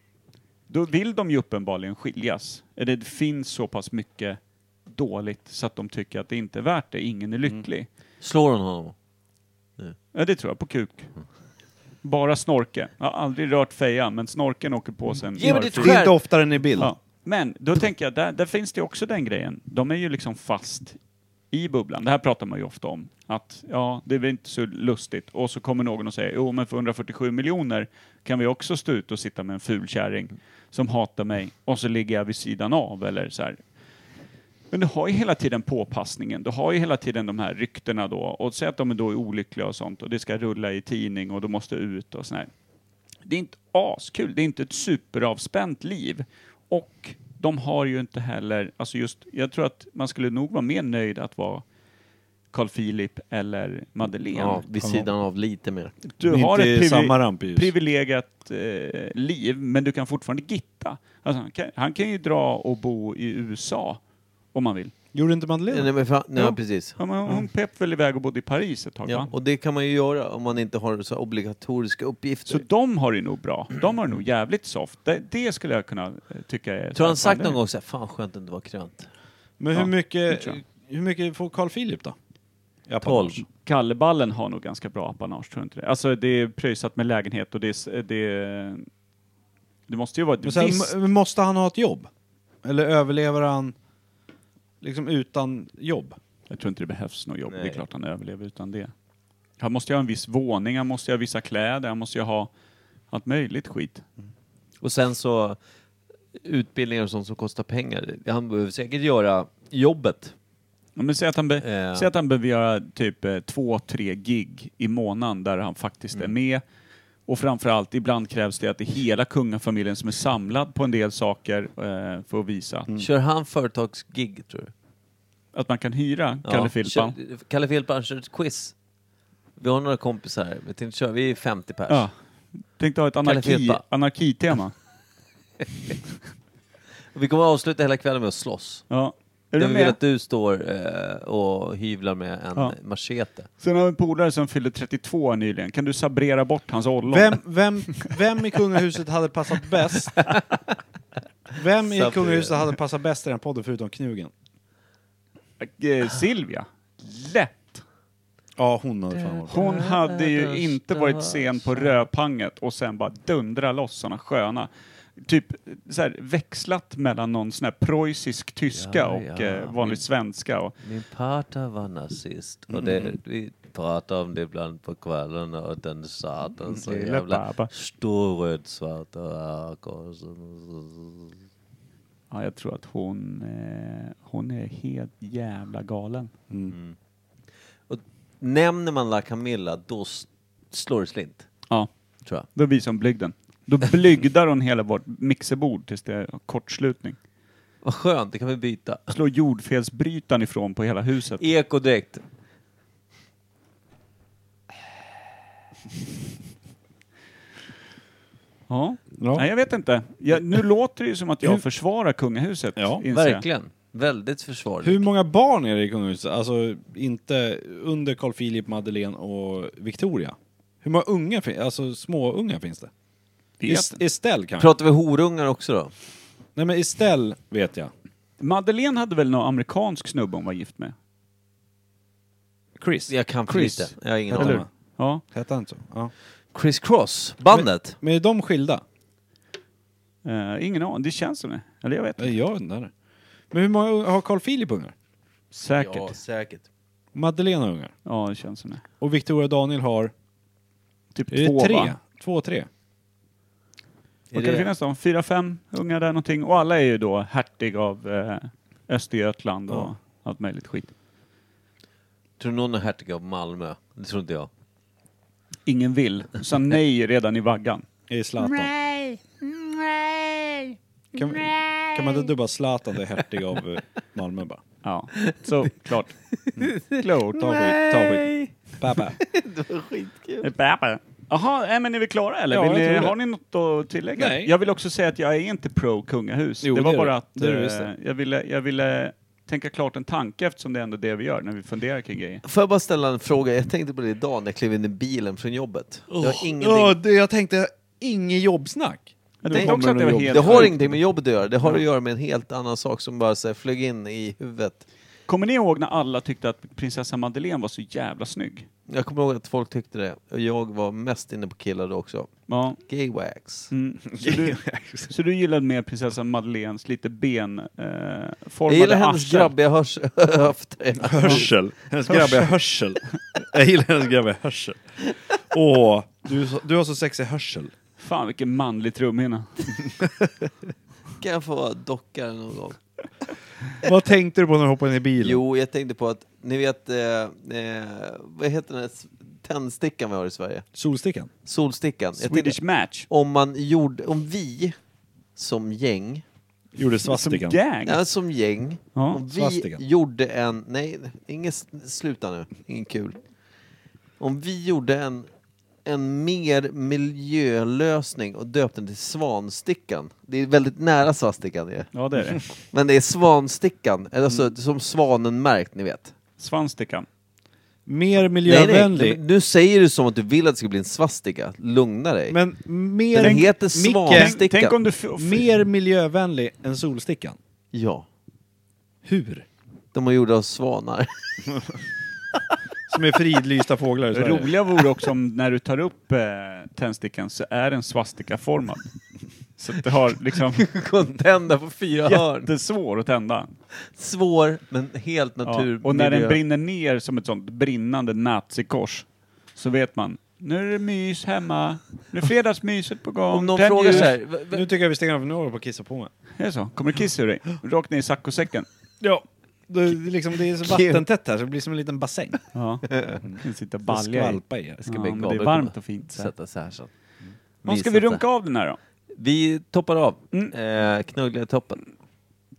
Speaker 3: Då vill de ju uppenbarligen skiljas. Eller det finns så pass mycket dåligt så att de tycker att det inte är värt det, ingen är
Speaker 1: Mm.
Speaker 3: lycklig.
Speaker 1: Slår hon honom?
Speaker 3: Ja, det tror jag, på kuk.
Speaker 1: Mm.
Speaker 3: Bara snorke. Jag har aldrig rört fejan, men snorken åker på sen.
Speaker 1: Mm. Ge mig ditt
Speaker 2: Det är
Speaker 1: skär-
Speaker 2: inte oftare än i bild.
Speaker 3: Ja. Men då tänker jag, där, där finns det också den grejen. De är ju liksom fast i bubblan. Det här pratar man ju ofta om. Att ja, det är väl inte så lustigt. Och så kommer någon och säger, jo men för 147 miljoner kan vi också stå ut och sitta med en fulkärring som hatar mig och så ligger jag vid sidan av eller så här. Men du har ju hela tiden påpassningen, du har ju hela tiden de här ryktena då och säg att de då är olyckliga och sånt och det ska rulla i tidning och de måste ut och sån här. Det är inte askul, det är inte ett superavspänt liv. Och de har ju inte heller, alltså just, jag tror att man skulle nog vara mer nöjd att vara Carl Philip eller Madeleine.
Speaker 1: Ja, vid sidan av lite mer.
Speaker 3: Du
Speaker 2: Men
Speaker 3: har
Speaker 2: inte
Speaker 3: ett privi-
Speaker 2: samma rampljus.
Speaker 3: privilegiat eh, liv, men du kan fortfarande gitta. Alltså, han, kan, han kan ju dra och bo i USA Om man vill.
Speaker 2: Gjorde inte
Speaker 3: Eh,
Speaker 2: Madeleine?
Speaker 1: Nej, men fan, nej,
Speaker 3: Ja.
Speaker 1: precis.
Speaker 3: Ja, men hon pep väl iväg och bodde i Paris ett tag
Speaker 1: Ja,
Speaker 3: va?
Speaker 1: och det kan man ju göra om man inte har så obligatoriska uppgifter.
Speaker 3: Så de har det nog bra. De har det nog jävligt soft. Det, det skulle jag kunna eh, tycka är...
Speaker 1: Tror han sagt någon gång såhär, fan skönt att det var krönt.
Speaker 2: Men hur
Speaker 3: Ja,
Speaker 2: mycket,
Speaker 3: tror
Speaker 2: hur mycket får Carl Philip då? Ja,
Speaker 1: Tolv.
Speaker 3: Kalleballen har nog ganska bra apanage, tror jag inte det? Alltså det är pröjsat med lägenhet och det är... s- Det, det måste ju vara ett
Speaker 2: Men sen,
Speaker 3: visst...
Speaker 2: m- måste han ha ett jobb? Eller överlever han liksom utan jobb?
Speaker 3: Jag tror inte det behövs något jobb. Det
Speaker 1: Nej.
Speaker 3: är klart han överlever utan det. Han måste ju ha en viss våning, han måste ju ha vissa kläder, han måste ju ha allt möjligt skit.
Speaker 1: Och sen så utbildningar och sånt som kostar pengar. Han behöver säkert göra jobbet.
Speaker 3: Ja, men säg, att han be,
Speaker 1: Eh.
Speaker 3: säg att han behöver göra typ eh, två, tre gig i månaden där han faktiskt
Speaker 1: Mm.
Speaker 3: är med. Och framförallt, ibland krävs det att det är hela kungafamiljen som är samlad på en del saker eh, för att visa att,
Speaker 1: Kör han företagsgig tror du?
Speaker 3: att man kan hyra Kalle Filpan.
Speaker 1: Kör, Kalle Filpan kör ett quiz. Vi har några kompisar här. Vi tänkte köra, vi är 50 pers.
Speaker 3: Ja. Tänkte ha ett anarki,
Speaker 1: Filpa.
Speaker 3: anarkitema.
Speaker 1: Vi kommer att avsluta hela kvällen med att slåss.
Speaker 3: Ja. Är du
Speaker 1: Jag vill
Speaker 3: med?
Speaker 1: att du står eh, och hyvlar med en
Speaker 3: Ja.
Speaker 1: machete.
Speaker 3: Sen har vi en polare som fyllde 32 nyligen. Kan du sabrera bort hans ollon?
Speaker 2: Vem, vem, vem i kungahuset hade passat bäst? Vem i
Speaker 1: Sabri.
Speaker 2: kungahuset hade passat bäst i den här podden förutom Knugen?
Speaker 3: Eh, Silvia. Lätt!
Speaker 2: Ja, hon hade fan varit
Speaker 3: Hon hade ju inte varit sen på rödpanget och sen bara dundra loss såna sköna. Typ så här, växlat mellan någon sån här preussisk tyska
Speaker 1: Ja,
Speaker 3: och
Speaker 1: ja.
Speaker 3: eh, vanlig svenska. Och,
Speaker 1: Min parta var nazist och
Speaker 3: Mm.
Speaker 1: det, vi pratade om det ibland på kvällen och den satan så
Speaker 3: Lille
Speaker 1: jävla
Speaker 3: pappa.
Speaker 1: stor rödsvart och arg och så-
Speaker 3: ja, jag tror att hon, eh, hon är helt jävla galen.
Speaker 1: Och nämner man La Camilla då s- slår det slint,
Speaker 3: Ja,
Speaker 1: tror jag.
Speaker 3: då visar hon blygden. Då blygdar hon hela vårt mixerbord tills det är kortslutning.
Speaker 1: Vad skönt, det kan vi byta.
Speaker 3: Slår jordfelsbrytaren ifrån på hela huset.
Speaker 1: Ekodräkt.
Speaker 3: Ja.
Speaker 2: Ja.
Speaker 3: Nej, jag vet inte. Jag, nu låter det ju som att jag försvarar kungahuset.
Speaker 2: Ja,
Speaker 3: inser jag.
Speaker 1: Verkligen. Väldigt försvarligt.
Speaker 2: Hur många barn är det i kungahuset? Alltså inte under Carl Philip, Madeleine och Victoria. Hur många unga finns Alltså små unga finns det?
Speaker 3: Vet.
Speaker 2: Est- Estelle kanske?
Speaker 1: Pratar vi horungar också då?
Speaker 2: Nej men Estelle vet jag.
Speaker 3: Madeleine hade väl någon amerikansk snubbe hon var gift med?
Speaker 2: Chris.
Speaker 1: Jag kan för
Speaker 3: Chris.
Speaker 1: lite. Jag har ingen
Speaker 2: Eller
Speaker 1: aning.
Speaker 2: hur?
Speaker 3: Ja.
Speaker 2: Hette han inte så? Ja.
Speaker 1: Chris Cross, bandet.
Speaker 2: Men är de skilda?
Speaker 3: Eh, ingen aning. Det känns som det. Eller jag vet inte.
Speaker 2: Nej, Jag undrar. Men hur många ungar har Carl Philip ungar?
Speaker 3: Säkert.
Speaker 1: Ja,
Speaker 3: Ja,
Speaker 1: säkert.
Speaker 2: Madeleine har ungar.
Speaker 3: det känns som det.
Speaker 2: Och Victoria och Daniel har?
Speaker 3: Typ
Speaker 2: Är det
Speaker 3: två,
Speaker 2: tre?
Speaker 3: va?
Speaker 2: Två, tre?
Speaker 1: Är
Speaker 3: Vad kan det
Speaker 1: det-
Speaker 3: finnas då? Fyra, fem ungar där någonting. Och alla är ju då hertig av eh, Östergötland och
Speaker 2: Ja.
Speaker 3: allt möjligt skit.
Speaker 1: Tror du någon är hertig av Malmö? Det tror inte jag.
Speaker 3: Ingen vill. Sa nej redan i vaggan.
Speaker 2: Är Zlatan?
Speaker 8: Nej! Nej!
Speaker 2: Kan, kan man inte dubba Zlatan till hertig av eh, Malmö bara?
Speaker 3: Ja, Mm. så klart.
Speaker 2: Klart. Ta skit, ta skit. Pappa.
Speaker 3: Jaha, nej, men är vi klara eller?
Speaker 2: Ja,
Speaker 3: vill
Speaker 2: jag
Speaker 3: ni,
Speaker 2: tror det.
Speaker 3: har ni något att tillägga?
Speaker 2: Nej.
Speaker 3: Jag vill också säga att jag är inte pro kungahus.
Speaker 2: Jo,
Speaker 3: det var
Speaker 2: det är du.
Speaker 3: bara att
Speaker 2: Det är du
Speaker 3: eh,
Speaker 2: visst det.
Speaker 3: jag, ville, jag ville tänka klart en tanke eftersom det är ändå det vi gör när vi funderar kring grejer.
Speaker 1: Får jag bara ställa en fråga? Jag tänkte på det idag när jag klev in i bilen från jobbet. Det har ingenting...
Speaker 2: Ja, det, jag tänkte, inget jobbsnack.
Speaker 3: Jag
Speaker 1: Nej,
Speaker 3: tänkte också
Speaker 2: kommer
Speaker 3: att det var
Speaker 2: nog
Speaker 3: helt
Speaker 1: Det har
Speaker 3: sjukt.
Speaker 1: ingenting med jobbet att göra, det har att göra med en helt annan sak som bara så här, flög in i huvudet.
Speaker 3: Kommer ni ihåg när alla tyckte att prinsessa Madeleine var så jävla snygg?
Speaker 1: Jag kommer ihåg att folk tyckte det, och jag var mest inne på killar då också.
Speaker 3: Ja.
Speaker 1: Gay wax.
Speaker 3: Mm.
Speaker 1: (laughs)
Speaker 2: (laughs)
Speaker 3: Så, du, så du gillade mer prinsessa Madeleines lite benformade eh,
Speaker 1: Jag
Speaker 3: formade
Speaker 1: gillar hennes
Speaker 3: arsel.
Speaker 1: grabbiga hörs- (laughs) höfter.
Speaker 2: Hörsel. Hennes grabbiga hörsel. Jag gillar hennes grabbiga hörsel. Åh, du, är så- du har så sexig hörsel.
Speaker 3: Fan vilken manlig trumhinna.
Speaker 1: Kan jag få docka den någon gång?
Speaker 2: Vad tänkte du på när du hoppade in i bilen?
Speaker 1: Jo, jag tänkte på att, ni vet, eh, eh, vad heter den här s- tändstickan vi har i Sverige?
Speaker 2: Solstickan?
Speaker 1: Solstickan. Jag tänkte,
Speaker 3: Swedish Match.
Speaker 1: om man gjorde, om vi som gäng,
Speaker 2: Gjorde
Speaker 3: Som
Speaker 2: svastikan?
Speaker 3: gang.
Speaker 1: ja, som gäng,
Speaker 3: Ja.
Speaker 1: Om vi
Speaker 2: svastikan.
Speaker 1: gjorde en... Nej, ingen, s- sluta nu. Ingen kul. Om vi gjorde en en mer miljölösning och döpt den till Svanstickan. Det är väldigt nära svastikan ju.
Speaker 3: Ja, det är det.
Speaker 1: Men det är Svanstickan, eller alltså
Speaker 3: Mm.
Speaker 1: som svanen märkt, ni vet.
Speaker 3: Svanstikan.
Speaker 2: Mer miljövänlig.
Speaker 1: men nu säger du som att du vill att det ska bli en svastika. Lugna dig.
Speaker 2: men, mer...
Speaker 1: den heter
Speaker 2: Micke,
Speaker 1: Svanstickan.
Speaker 3: Tänk om du... f-
Speaker 2: Mer miljövänlig än solstickan.
Speaker 1: Ja,
Speaker 2: Hur?
Speaker 1: de har gjorda av svanar. (laughs)
Speaker 2: Som är fridlysta fåglar i
Speaker 3: Det
Speaker 2: Sverige.
Speaker 3: roliga vore också om när du tar upp eh, tändstickan så är den svastikaformad. Så att du har liksom
Speaker 1: Contender på fyra hörn.
Speaker 3: jättesvår att tända.
Speaker 1: Svår, men helt
Speaker 3: Ja.
Speaker 1: natur.
Speaker 3: Och när den
Speaker 1: miljö.
Speaker 3: brinner ner som ett sånt brinnande nazikors så vet man, nu är det mys hemma, nu är fredagsmyset på gång.
Speaker 1: Om någon
Speaker 3: tänd
Speaker 1: frågar
Speaker 3: ljus.
Speaker 1: så här, v- v-
Speaker 2: Nu tycker jag vi stänger av, för nu håller jag på att kissa på mig.
Speaker 3: Är det så? Kommer det kiss ur dig? Rakt ner i saccosäcken.
Speaker 2: Ja. Det är, liksom, det är så
Speaker 1: Kul.
Speaker 2: vattentätt här så det blir som en liten bassäng.
Speaker 3: Ja. Du kan sitta och
Speaker 2: Och
Speaker 3: balja i.
Speaker 2: skvalpa i.
Speaker 1: ska
Speaker 3: Ja,
Speaker 1: bli
Speaker 3: men
Speaker 1: glad
Speaker 3: det är
Speaker 1: att
Speaker 3: varmt
Speaker 1: komma.
Speaker 3: och fint. Så. här. Mm.
Speaker 1: sätta så här så.
Speaker 3: Vad ska
Speaker 1: Visa
Speaker 3: vi
Speaker 1: så här.
Speaker 3: runka av den här då?
Speaker 1: Vi toppar av.
Speaker 3: Mm.
Speaker 1: Eh, knuggliga toppen.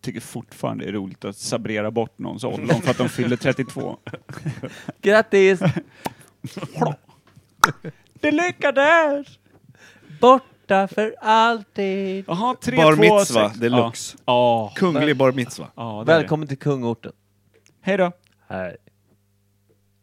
Speaker 3: Tycker fortfarande det är roligt att sabrera bort någons ollon för att de fyller 32. (laughs)
Speaker 1: Grattis!
Speaker 3: Det lyckades!
Speaker 1: Borta för alltid!
Speaker 3: Jaha, 3,
Speaker 2: Bar
Speaker 3: 2,
Speaker 2: mitzva
Speaker 3: 6.
Speaker 2: deluxe.
Speaker 3: Ja.
Speaker 2: Kunglig bar mitzva.
Speaker 3: Ja, det är det.
Speaker 1: Välkommen till kungorten.
Speaker 3: Hej då.
Speaker 1: Hej.